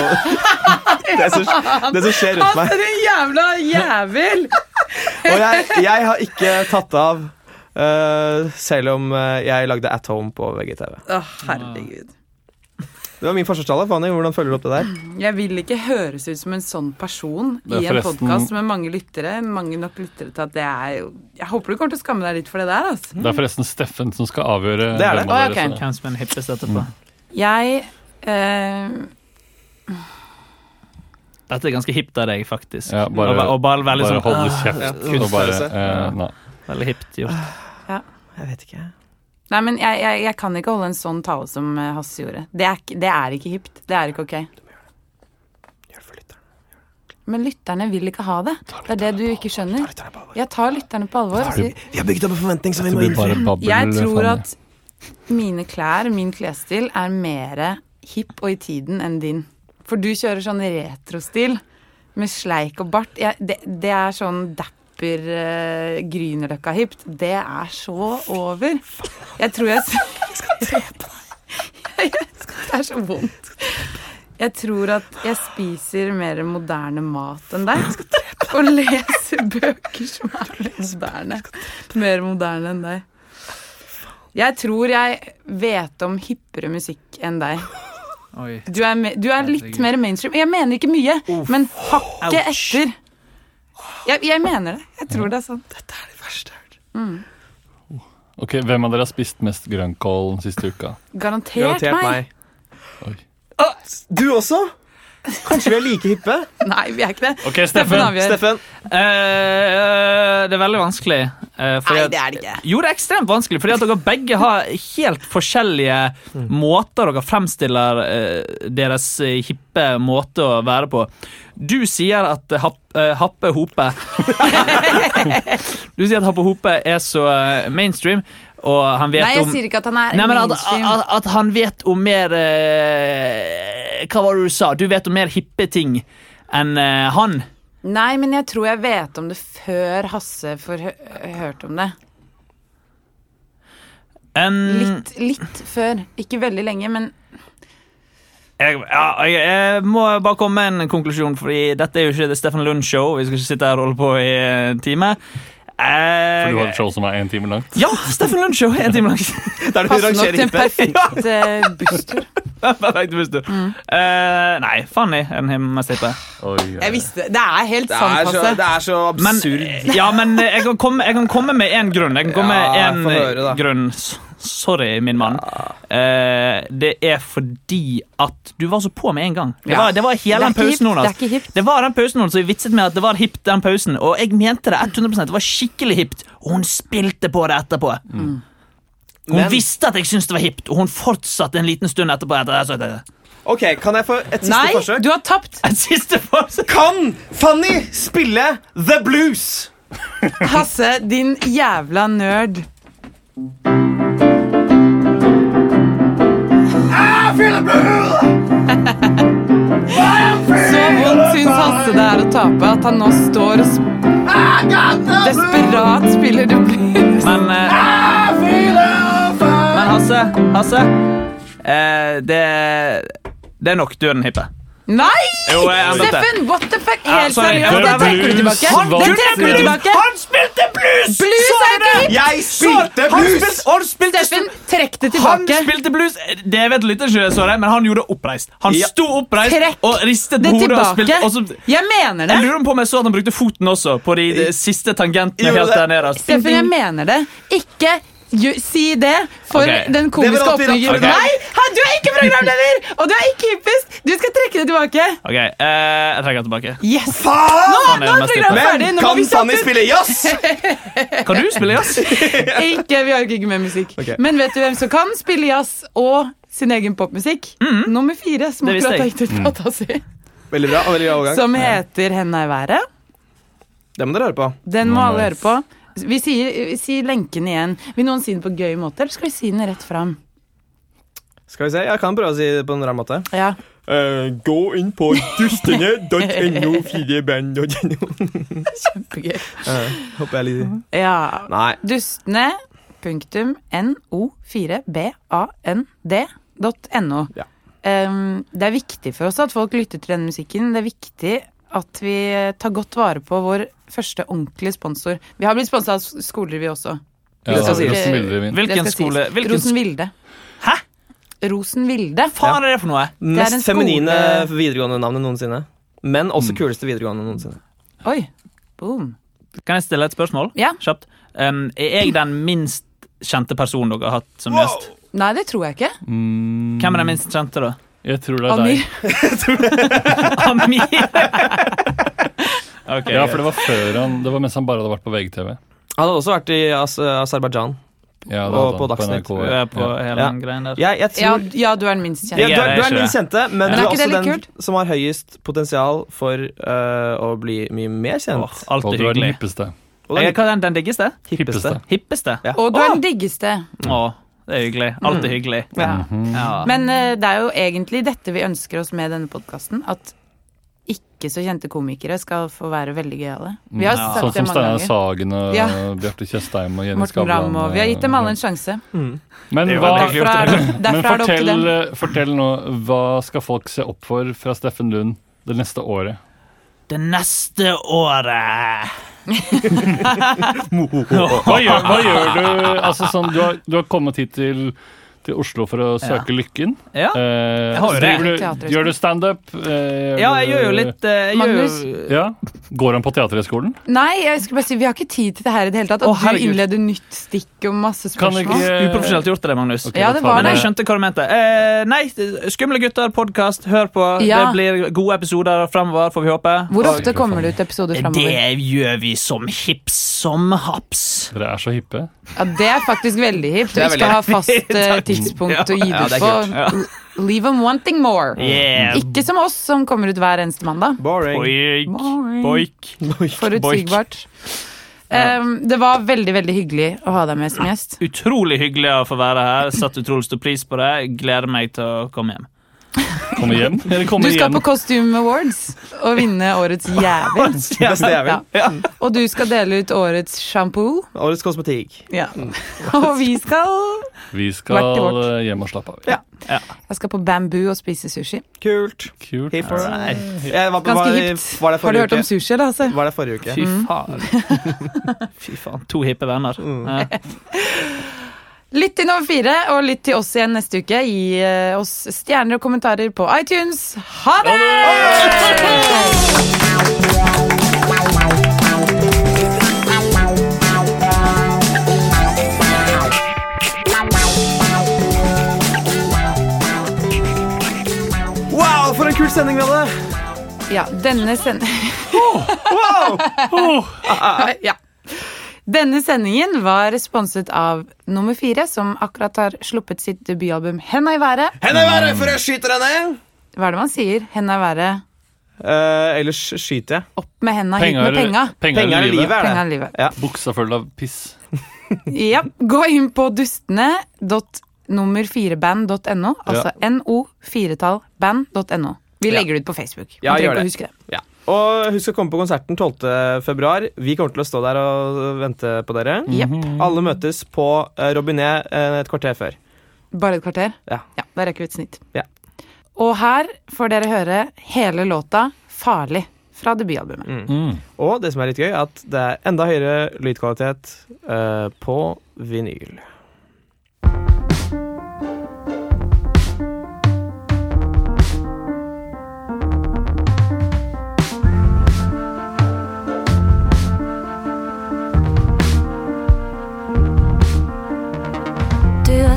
[SPEAKER 3] det som, det som skjer rundt meg.
[SPEAKER 2] Altså, din jævla jævel!
[SPEAKER 3] Og jeg, jeg har ikke tatt av, eh, selv om eh, jeg lagde At Home på VGTV.
[SPEAKER 2] Å, herregud.
[SPEAKER 3] Det var min forsvarstale. Fanny, hvordan følger du opp det der?
[SPEAKER 2] Jeg vil ikke høres ut som en sånn person
[SPEAKER 4] Det er
[SPEAKER 2] i en
[SPEAKER 4] forresten-
[SPEAKER 2] podkast med mange lyttere. Mange nok lyttere til at det er jo Jeg håper du kommer til å skamme deg litt for det der, altså.
[SPEAKER 4] Det er forresten Steffen som skal avgjøre.
[SPEAKER 3] Det er det.
[SPEAKER 4] hvem av
[SPEAKER 2] Å,
[SPEAKER 4] dere
[SPEAKER 2] ok.
[SPEAKER 4] som-
[SPEAKER 6] Hvem som er den hippeste etterpå?
[SPEAKER 4] Mm.
[SPEAKER 2] Jeg eh,
[SPEAKER 6] Dette er ganske hipt av deg, faktisk.
[SPEAKER 4] Ja, bare-
[SPEAKER 6] og, ba- og bare veldig
[SPEAKER 4] Bare
[SPEAKER 6] sånn
[SPEAKER 4] holde
[SPEAKER 6] ah,
[SPEAKER 4] kjeft.
[SPEAKER 3] ja,
[SPEAKER 4] og bare,
[SPEAKER 3] kunstpause.
[SPEAKER 4] eh, nei.
[SPEAKER 6] Veldig hipt gjort.
[SPEAKER 3] Jeg vet ikke.
[SPEAKER 2] Nei, men jeg, jeg, jeg kan ikke holde en sånn tale som eh, Hasse gjorde. Det er, ikke- det er ikke hipt. Det er ikke ok.
[SPEAKER 3] Gjør det for lytterne.
[SPEAKER 2] Men lytterne vil ikke ha det. Det er det du ikke skjønner.
[SPEAKER 3] Lytterne på alvor.
[SPEAKER 2] Jeg tar lytterne på alvor. og sier-
[SPEAKER 3] Vi har bygd opp en forventning som vi
[SPEAKER 4] Det
[SPEAKER 3] må
[SPEAKER 4] blir
[SPEAKER 3] innfri.
[SPEAKER 4] bare babbel.
[SPEAKER 2] Jeg tror
[SPEAKER 4] Fanny.
[SPEAKER 2] at mine klær, min klesstil, er mer hipp og i tiden enn din. For du kjører sånn retrostil med sleik og bart. Jeg, det, det er sånn dapper eh, Grünerløkka-hipt. Det er så over. Jeg tror jeg Jeg skal drepe deg. Det er så vondt. Jeg tror at jeg spiser mer moderne mat enn deg. Og leser bøker som er moderne. Mer moderne enn deg. Jeg tror jeg vet om hippere musikk enn deg.
[SPEAKER 6] Oi.
[SPEAKER 2] Du er, me du er litt mer mainstream. Jeg mener ikke mye, men hakket etter. Jeg, jeg mener det. Jeg tror det er sant.
[SPEAKER 4] Ok, Hvem av dere har spist mest grønnkål den siste uka?
[SPEAKER 2] Garantert,
[SPEAKER 3] Garantert
[SPEAKER 2] meg.
[SPEAKER 3] meg.
[SPEAKER 4] Oi.
[SPEAKER 3] Å, Ah, Du også? Kanskje vi er like hippe?
[SPEAKER 2] Nei, vi er ikke det.
[SPEAKER 4] Ok,
[SPEAKER 2] Steffen
[SPEAKER 4] Steffen.
[SPEAKER 2] avgjør.
[SPEAKER 3] Steffen.
[SPEAKER 6] Eh, eh, det er veldig vanskelig. eh, fordi
[SPEAKER 2] Nei,
[SPEAKER 6] at-
[SPEAKER 2] det er det ikke.
[SPEAKER 6] Jo, det er ekstremt vanskelig, fordi at dere begge har helt forskjellige måter dere fremstiller eh, deres eh, hippe måte å være på. Du sier at eh, hap, eh, Happe Hope Du sier at Happe Hope er så eh, mainstream, og han vet
[SPEAKER 2] Nei, jeg
[SPEAKER 6] om
[SPEAKER 2] sier ikke at han er
[SPEAKER 6] Nei, men at,
[SPEAKER 2] mainstream.
[SPEAKER 6] at, at han vet om mer eh, Hva var det du sa? Du vet om mer hippe ting enn eh, han.
[SPEAKER 2] Nei, men jeg tror jeg vet om det før Hasse får hø hørt om det.
[SPEAKER 6] Um,
[SPEAKER 2] Litt,
[SPEAKER 3] Mm.
[SPEAKER 2] litt før. Ikke veldig lenge, men
[SPEAKER 6] Jeg, ja, jeg, jeg må bare komme med en konklusjon, Fordi dette er jo ikke det Stefan Lund Show. Vi skal ikke sitte her og holde på i eh, en time.
[SPEAKER 4] For du har
[SPEAKER 6] Jeg,
[SPEAKER 4] et show som er én time langt.
[SPEAKER 6] ja, Stefan Lund Show! En time langt.
[SPEAKER 3] Der du
[SPEAKER 2] passe nok
[SPEAKER 3] rangerer
[SPEAKER 2] til en
[SPEAKER 3] hippe.
[SPEAKER 2] perfekt eh, busstur.
[SPEAKER 6] Hva tenkte du først, du? Eh, nei, Fanny er den mest hippe.
[SPEAKER 2] Jeg visste, Det er helt
[SPEAKER 3] Det er
[SPEAKER 2] sant,
[SPEAKER 3] så, det
[SPEAKER 2] Hasse.
[SPEAKER 3] er så
[SPEAKER 6] Men,
[SPEAKER 3] absurd.
[SPEAKER 6] ja, men jeg kan, komme, jeg kan komme med én grunn. Jeg kan komme
[SPEAKER 3] Ja,
[SPEAKER 6] med
[SPEAKER 3] få
[SPEAKER 6] en
[SPEAKER 3] høre, da.
[SPEAKER 6] grunn. S- Sorry, min mann. Eh, det er fordi at du var så på med en gang. Det var, det var hele den
[SPEAKER 2] Det er ikke
[SPEAKER 6] pausen.
[SPEAKER 2] hipt,
[SPEAKER 6] Jonas.
[SPEAKER 2] det er ikke hipt.
[SPEAKER 6] Det var den pausen Jonas, og jeg vitset med at det var hipt, den pausen. Og jeg mente det 100 Det var skikkelig hipt. Og hun spilte på det etterpå. Hun
[SPEAKER 3] Men-
[SPEAKER 6] visste at jeg syntes det var hipt, og hun fortsatte en liten stund etterpå. Etter det, så det.
[SPEAKER 3] Ok, Kan jeg få et siste
[SPEAKER 2] Nei,
[SPEAKER 3] forsøk?
[SPEAKER 2] du har tapt.
[SPEAKER 6] Et siste forsøk.
[SPEAKER 3] Kan Fanny spille The Blues?
[SPEAKER 2] Hasse, din jævla nerd. Så vondt syns Hasse det er å tape at han nå står og sp desperat spiller The Blues.
[SPEAKER 6] Men eh, Men Hasse, Hasse eh, det, det er nok. Du er den hippe.
[SPEAKER 2] Nei!
[SPEAKER 6] Jo, jeg endret det.
[SPEAKER 2] Steffen, what the fuck?
[SPEAKER 6] Ja,
[SPEAKER 2] Helt
[SPEAKER 6] sorry.
[SPEAKER 2] seriøst,
[SPEAKER 6] The
[SPEAKER 2] jeg trekker det
[SPEAKER 4] Blues
[SPEAKER 2] tilbake.
[SPEAKER 4] vant.
[SPEAKER 2] Den trekker du tilbake.
[SPEAKER 6] spilte blues!
[SPEAKER 2] Blues er ikke hipt!
[SPEAKER 3] Jeg spilte blues!
[SPEAKER 6] Han spilte,
[SPEAKER 2] Steffen, trekk det
[SPEAKER 6] han
[SPEAKER 2] tilbake.
[SPEAKER 6] spilte blues! Det vet lytteren ikke, sorry, men han gjorde det oppreist. Han
[SPEAKER 3] Ja.
[SPEAKER 6] sto oppreist
[SPEAKER 2] Trekk
[SPEAKER 6] og ristet
[SPEAKER 2] Det
[SPEAKER 6] på hodet. Og spilte,
[SPEAKER 2] tilbake.
[SPEAKER 6] og så,
[SPEAKER 2] Jeg mener
[SPEAKER 6] jeg
[SPEAKER 2] det.
[SPEAKER 6] lurer på om jeg så at han brukte foten også, på de, de siste tangentene
[SPEAKER 3] Jo,
[SPEAKER 6] helt
[SPEAKER 3] det-
[SPEAKER 6] der nederst.
[SPEAKER 2] Steffen, jeg mener det. Ikke ju, si det for
[SPEAKER 6] Ok.
[SPEAKER 2] den
[SPEAKER 3] Det
[SPEAKER 2] komiske
[SPEAKER 3] var alltid
[SPEAKER 2] oppbyggingen.
[SPEAKER 3] rart. Ok.
[SPEAKER 2] Nei, han- du er ikke programleder, og du er ikke hippest. Du skal trekke det tilbake.
[SPEAKER 6] Ok, eh, jeg trekker tilbake.
[SPEAKER 2] Yes!
[SPEAKER 3] Faen!
[SPEAKER 2] Nå,
[SPEAKER 6] Han
[SPEAKER 2] nå
[SPEAKER 6] er den
[SPEAKER 2] er
[SPEAKER 6] mest
[SPEAKER 2] programmet
[SPEAKER 3] Men
[SPEAKER 2] ferdig. Nå må
[SPEAKER 3] kan
[SPEAKER 2] vi
[SPEAKER 3] Fanny
[SPEAKER 2] kjapt ut.
[SPEAKER 3] spille jazz?
[SPEAKER 6] Kan du spille jazz?
[SPEAKER 2] Ikke, vi orker ikke mer musikk.
[SPEAKER 3] Ok.
[SPEAKER 2] Men vet du hvem som kan spille jazz og sin egen popmusikk? Nummer fire, som
[SPEAKER 6] Mm. Det visste
[SPEAKER 2] akkurat har
[SPEAKER 6] jeg.
[SPEAKER 2] gitt ut plata si,
[SPEAKER 3] Mm. Veldig bra. og veldig bra overgang.
[SPEAKER 2] som heter Henda i været.
[SPEAKER 3] Det må dere høre på.
[SPEAKER 2] Den må alle høre på. Vi sier, vi sier lenken igjen. Vil noen si den på gøy måte, eller skal vi si den rett fram?
[SPEAKER 3] Skal vi se, Jeg kan prøve å si det på en rar måte.
[SPEAKER 2] Ja.
[SPEAKER 3] Eh, gå inn på dustene.no, fire band og
[SPEAKER 2] Kjempegøy.
[SPEAKER 3] Håper jeg liker det.
[SPEAKER 2] Ja.
[SPEAKER 3] Nei.
[SPEAKER 2] Dustene. Punktum no4band.no.
[SPEAKER 3] Ja.
[SPEAKER 2] Em, det er viktig for oss at folk lytter til denne musikken. Det er viktig at vi eh, tar godt vare på vår første ordentlige sponsor. Vi har blitt sponsa av s- skoler, vi også.
[SPEAKER 4] Ja,
[SPEAKER 2] Det skal sies.
[SPEAKER 4] Rosenvildrevyen.
[SPEAKER 2] Det
[SPEAKER 6] Hvilken
[SPEAKER 2] skal sies.
[SPEAKER 6] skole? Hvilken sk-
[SPEAKER 2] Rosenvilde.
[SPEAKER 6] Hæ?
[SPEAKER 2] Rosenvilde.
[SPEAKER 6] Faen er det for noe?
[SPEAKER 2] en
[SPEAKER 3] Mest
[SPEAKER 2] skole-
[SPEAKER 3] feminine videregående navnet noensinne. Men også kuleste videregående noensinne.
[SPEAKER 2] Oi. Boom.
[SPEAKER 6] Kan jeg stille et spørsmål?
[SPEAKER 2] Ja.
[SPEAKER 6] Kjapt. Um, er jeg den minst kjente personen dere har hatt som gjest?
[SPEAKER 2] Nei, det tror jeg ikke.
[SPEAKER 6] Hvem er den minst kjente, da?
[SPEAKER 4] Mm, Jeg tror det er
[SPEAKER 2] Amir.
[SPEAKER 4] deg.
[SPEAKER 6] Amir. Ok,
[SPEAKER 4] Ja, for det var før han Det var mens han bare hadde vært på VGTV.
[SPEAKER 3] Han hadde også vært i As Aserbajdsjan.
[SPEAKER 4] Ja, det
[SPEAKER 3] Og
[SPEAKER 4] hadde
[SPEAKER 3] på
[SPEAKER 4] han
[SPEAKER 3] Dagsnytt.
[SPEAKER 4] NRK.
[SPEAKER 6] greit. Du er på
[SPEAKER 4] Ja.
[SPEAKER 6] hele
[SPEAKER 3] Ja.
[SPEAKER 6] den greien der.
[SPEAKER 3] Jeg, jeg
[SPEAKER 2] Ja,
[SPEAKER 3] tror
[SPEAKER 2] ja, du er den minst
[SPEAKER 3] ja,
[SPEAKER 2] kjente.
[SPEAKER 3] du,
[SPEAKER 6] Jeg
[SPEAKER 3] er- du
[SPEAKER 6] er
[SPEAKER 3] er
[SPEAKER 6] ikke
[SPEAKER 3] minst kjente, men
[SPEAKER 2] Men
[SPEAKER 3] du
[SPEAKER 2] er
[SPEAKER 3] er
[SPEAKER 2] ikke det
[SPEAKER 3] også
[SPEAKER 2] litt
[SPEAKER 3] den som har høyest potensial for øh, å bli mye mer kjent.
[SPEAKER 6] Åh, alt
[SPEAKER 4] Og
[SPEAKER 6] er
[SPEAKER 4] du er den
[SPEAKER 6] hyggelig.
[SPEAKER 4] hippeste.
[SPEAKER 3] Og den
[SPEAKER 6] Jeg er hva er den, den diggeste?
[SPEAKER 4] Hippeste.
[SPEAKER 6] Hippeste?
[SPEAKER 3] Ja.
[SPEAKER 2] Og du er den diggeste.
[SPEAKER 6] Å, det er hyggelig. Alt
[SPEAKER 4] Mm.
[SPEAKER 6] er hyggelig.
[SPEAKER 2] Ja.
[SPEAKER 6] Ja.
[SPEAKER 2] Men eh, det er jo egentlig dette vi ønsker oss med denne podkasten. At ikke så kjente komikere skal få være veldig gøyale. Vi har
[SPEAKER 6] Ja.
[SPEAKER 2] sagt
[SPEAKER 4] Sånn
[SPEAKER 2] det
[SPEAKER 4] som
[SPEAKER 2] mange ganger.
[SPEAKER 4] Steinar Sagen og
[SPEAKER 2] Ja.
[SPEAKER 4] Bjarte Tjøstheim og Jenny
[SPEAKER 2] Morten Ramm
[SPEAKER 4] Skavlan.
[SPEAKER 2] og Vi har gitt dem alle en sjanse.
[SPEAKER 4] Men,
[SPEAKER 6] Det er jo
[SPEAKER 4] hva,
[SPEAKER 6] veldig hyggelig.
[SPEAKER 2] Derfra er det,
[SPEAKER 4] men
[SPEAKER 2] derfra er det opp til
[SPEAKER 4] fortell, eh,
[SPEAKER 2] dem.
[SPEAKER 4] fortell nå, hva skal folk se opp for fra Steffen Lund det neste året?
[SPEAKER 6] Det neste året
[SPEAKER 4] Hva gjør, hva gjør du? Altså sånn, du har, du har kommet hit til, til Oslo for å søke lykken.
[SPEAKER 6] Ja.
[SPEAKER 4] Eh,
[SPEAKER 6] Jeg har jo det.
[SPEAKER 4] driver du,
[SPEAKER 2] Teaterhøgskolen.
[SPEAKER 4] gjør du standup? Eh,
[SPEAKER 6] ja, jeg gjør jo litt eh, jeg gjør
[SPEAKER 2] Magnus?
[SPEAKER 6] jo,
[SPEAKER 4] Ja. Går han på Teaterhøgskolen?
[SPEAKER 2] Nei, jeg skulle bare si vi har ikke tid til det her i det hele tatt.
[SPEAKER 6] Å,
[SPEAKER 2] At du
[SPEAKER 6] herregud.
[SPEAKER 2] innleder nytt stikk og masse
[SPEAKER 4] Kan ikke-
[SPEAKER 2] spørsmål.
[SPEAKER 6] Uprofesjonelt gjort av deg, Magnus.
[SPEAKER 4] Ok,
[SPEAKER 2] Ja,
[SPEAKER 4] da
[SPEAKER 2] det
[SPEAKER 4] tar
[SPEAKER 2] var
[SPEAKER 4] vi
[SPEAKER 6] Men
[SPEAKER 2] det.
[SPEAKER 6] jeg skjønte hva du mente. Eh, nei, Skumle gutter, podkast, hør på.
[SPEAKER 2] Ja.
[SPEAKER 6] Det blir gode episoder framover, får vi håpe.
[SPEAKER 2] Hvor
[SPEAKER 6] Og-
[SPEAKER 2] ofte kommer det ut episoder framover?
[SPEAKER 6] Det gjør vi som hips som haps.
[SPEAKER 4] Dere er så hippe.
[SPEAKER 2] Ja, det er faktisk veldig hipt. Du skal ha fast eh, tidspunkt å gi
[SPEAKER 3] Ja,
[SPEAKER 2] det
[SPEAKER 3] det er
[SPEAKER 2] på.
[SPEAKER 3] kult.
[SPEAKER 2] L- Leave them wanting more.
[SPEAKER 6] Yeah.
[SPEAKER 2] Ikke som oss som kommer ut hver eneste mandag.
[SPEAKER 3] Boring.
[SPEAKER 6] Boik.
[SPEAKER 2] Boing.
[SPEAKER 6] Boik.
[SPEAKER 2] Forutsigbart. Um, det var veldig veldig hyggelig å ha deg med som gjest.
[SPEAKER 6] Utrolig hyggelig å få være her. Satt utrolig stor pris på det. Gleder meg til å komme hjem.
[SPEAKER 4] Kommer hjem. Dere
[SPEAKER 2] Du
[SPEAKER 4] kommer
[SPEAKER 2] skal
[SPEAKER 4] hjem.
[SPEAKER 2] på Costume Awards og vinne årets jævel.
[SPEAKER 3] Beste jeg vil.
[SPEAKER 2] Ja. Og du skal dele ut årets sjampo.
[SPEAKER 3] Årets kosmetikk.
[SPEAKER 2] Og vi skal
[SPEAKER 4] Vi
[SPEAKER 2] Hvert til
[SPEAKER 4] skal
[SPEAKER 2] vårt.
[SPEAKER 4] eh, hjem og slappe av.
[SPEAKER 2] Jeg skal på Bamboo og spise sushi.
[SPEAKER 3] Kult.
[SPEAKER 4] Kult.
[SPEAKER 3] Hipp. Jeg var,
[SPEAKER 2] Ganske
[SPEAKER 3] var,
[SPEAKER 2] hipt.
[SPEAKER 3] Var
[SPEAKER 2] Har du
[SPEAKER 3] det forrige
[SPEAKER 2] hørt om
[SPEAKER 3] uke?
[SPEAKER 2] sushi, da? Hasse?
[SPEAKER 3] Var det forrige
[SPEAKER 2] Mm.
[SPEAKER 3] uke?
[SPEAKER 6] Fy faen. Fy faen. To hippe venner. Ja.
[SPEAKER 9] Lytt til Nummer fire, og lytt til oss igjen neste uke. Gi eh, oss stjerner og kommentarer på iTunes. Ha det!
[SPEAKER 3] Wow, for en kul sending vi hadde!
[SPEAKER 9] Ja, denne send...
[SPEAKER 3] Oh,
[SPEAKER 9] ja. Denne sendingen var sponset av nummer fire, som akkurat har sluppet sitt debutalbum 'Henda i været'.
[SPEAKER 3] Henne i været før jeg skyter deg ned!
[SPEAKER 9] Hva er det man sier? 'Henda i været'.
[SPEAKER 3] Eh, ellers skyter jeg.
[SPEAKER 9] Opp med henda, hit med penga.
[SPEAKER 4] penger
[SPEAKER 3] Penger er livet, er det.
[SPEAKER 9] Penger er livet.
[SPEAKER 3] Ja.
[SPEAKER 4] Buksa full av piss.
[SPEAKER 9] Ja, gå inn på dustene.nummer4band.no, altså no4tallband.no. Vi legger det ut på Facebook. Man
[SPEAKER 3] Ja,
[SPEAKER 9] trenger
[SPEAKER 3] gjør
[SPEAKER 9] ikke å
[SPEAKER 3] det.
[SPEAKER 9] huske det.
[SPEAKER 3] Ja. Og husk å komme på konserten 12. februar. Vi kommer til å stå der og vente på dere.
[SPEAKER 9] Jepp.
[SPEAKER 3] Alle møtes på eh, Robinet eh, et kvarter før.
[SPEAKER 9] Bare et kvarter?
[SPEAKER 3] Ja.
[SPEAKER 9] ja da rekker vi et snitt.
[SPEAKER 3] Ja.
[SPEAKER 9] Og her får dere høre hele låta 'Farlig' fra debutalbumet.
[SPEAKER 3] Og det som er litt gøy, er at det er enda høyere lydkvalitet eh, på vinyl.
[SPEAKER 1] Du er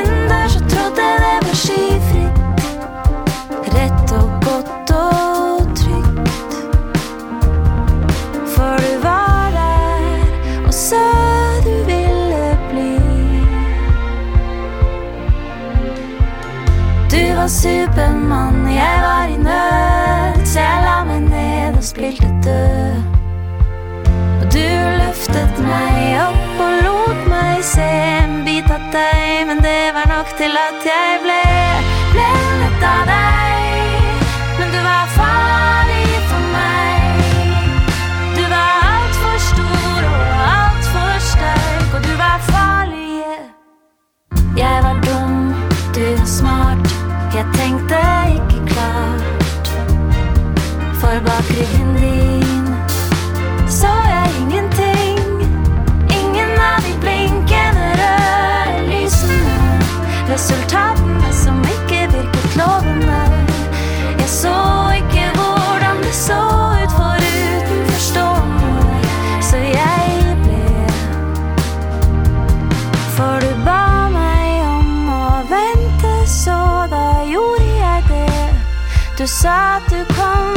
[SPEAKER 1] innendørs og trodde det var skyfritt. Rett og godt og trygt. For du var der og sa du ville bli. Du var Supermann, jeg var i nød, så jeg la meg ned og spilte død. Og du løftet meg opp og lot meg se en bit av deg, men det var nok til at jeg ble blendet av deg. Men du var farlig for meg. Du var altfor stor og altfor sterk, og du var farlig. Jeg var dum, du var smart, jeg tenkte ikke klart. For bak ryggen din så jeg ingenting. Ingen av de blinkende røde lysene. Resultatene som ikke virket lovende. Jeg så ikke hvordan det så ut foruten forstående, så jeg ble For du ba meg om å vente, så da gjorde jeg det. Du sa at du kom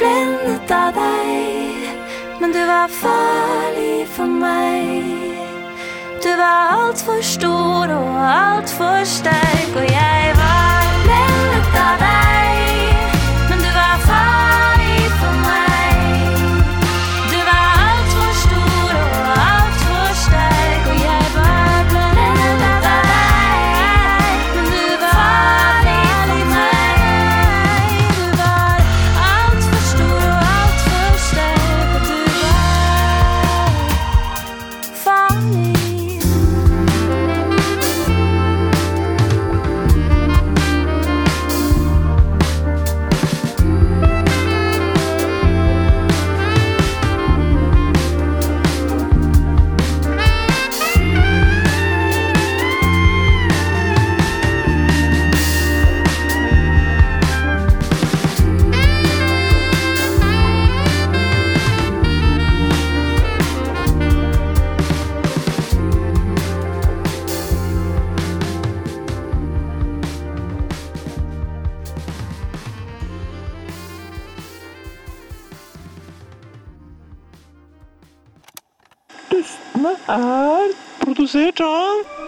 [SPEAKER 1] blendet av deg. Men du var farlig for meg. Du var altfor stor og altfor sterk, og jeg var blendet av deg. Men du var farlig for meg. Du var altfor stor og altfor sterk, og jeg var blendet av deg. Men du var farlig for meg. Du var altfor stor og altfor sterk, og du var Falling.
[SPEAKER 10] programmet er produsert av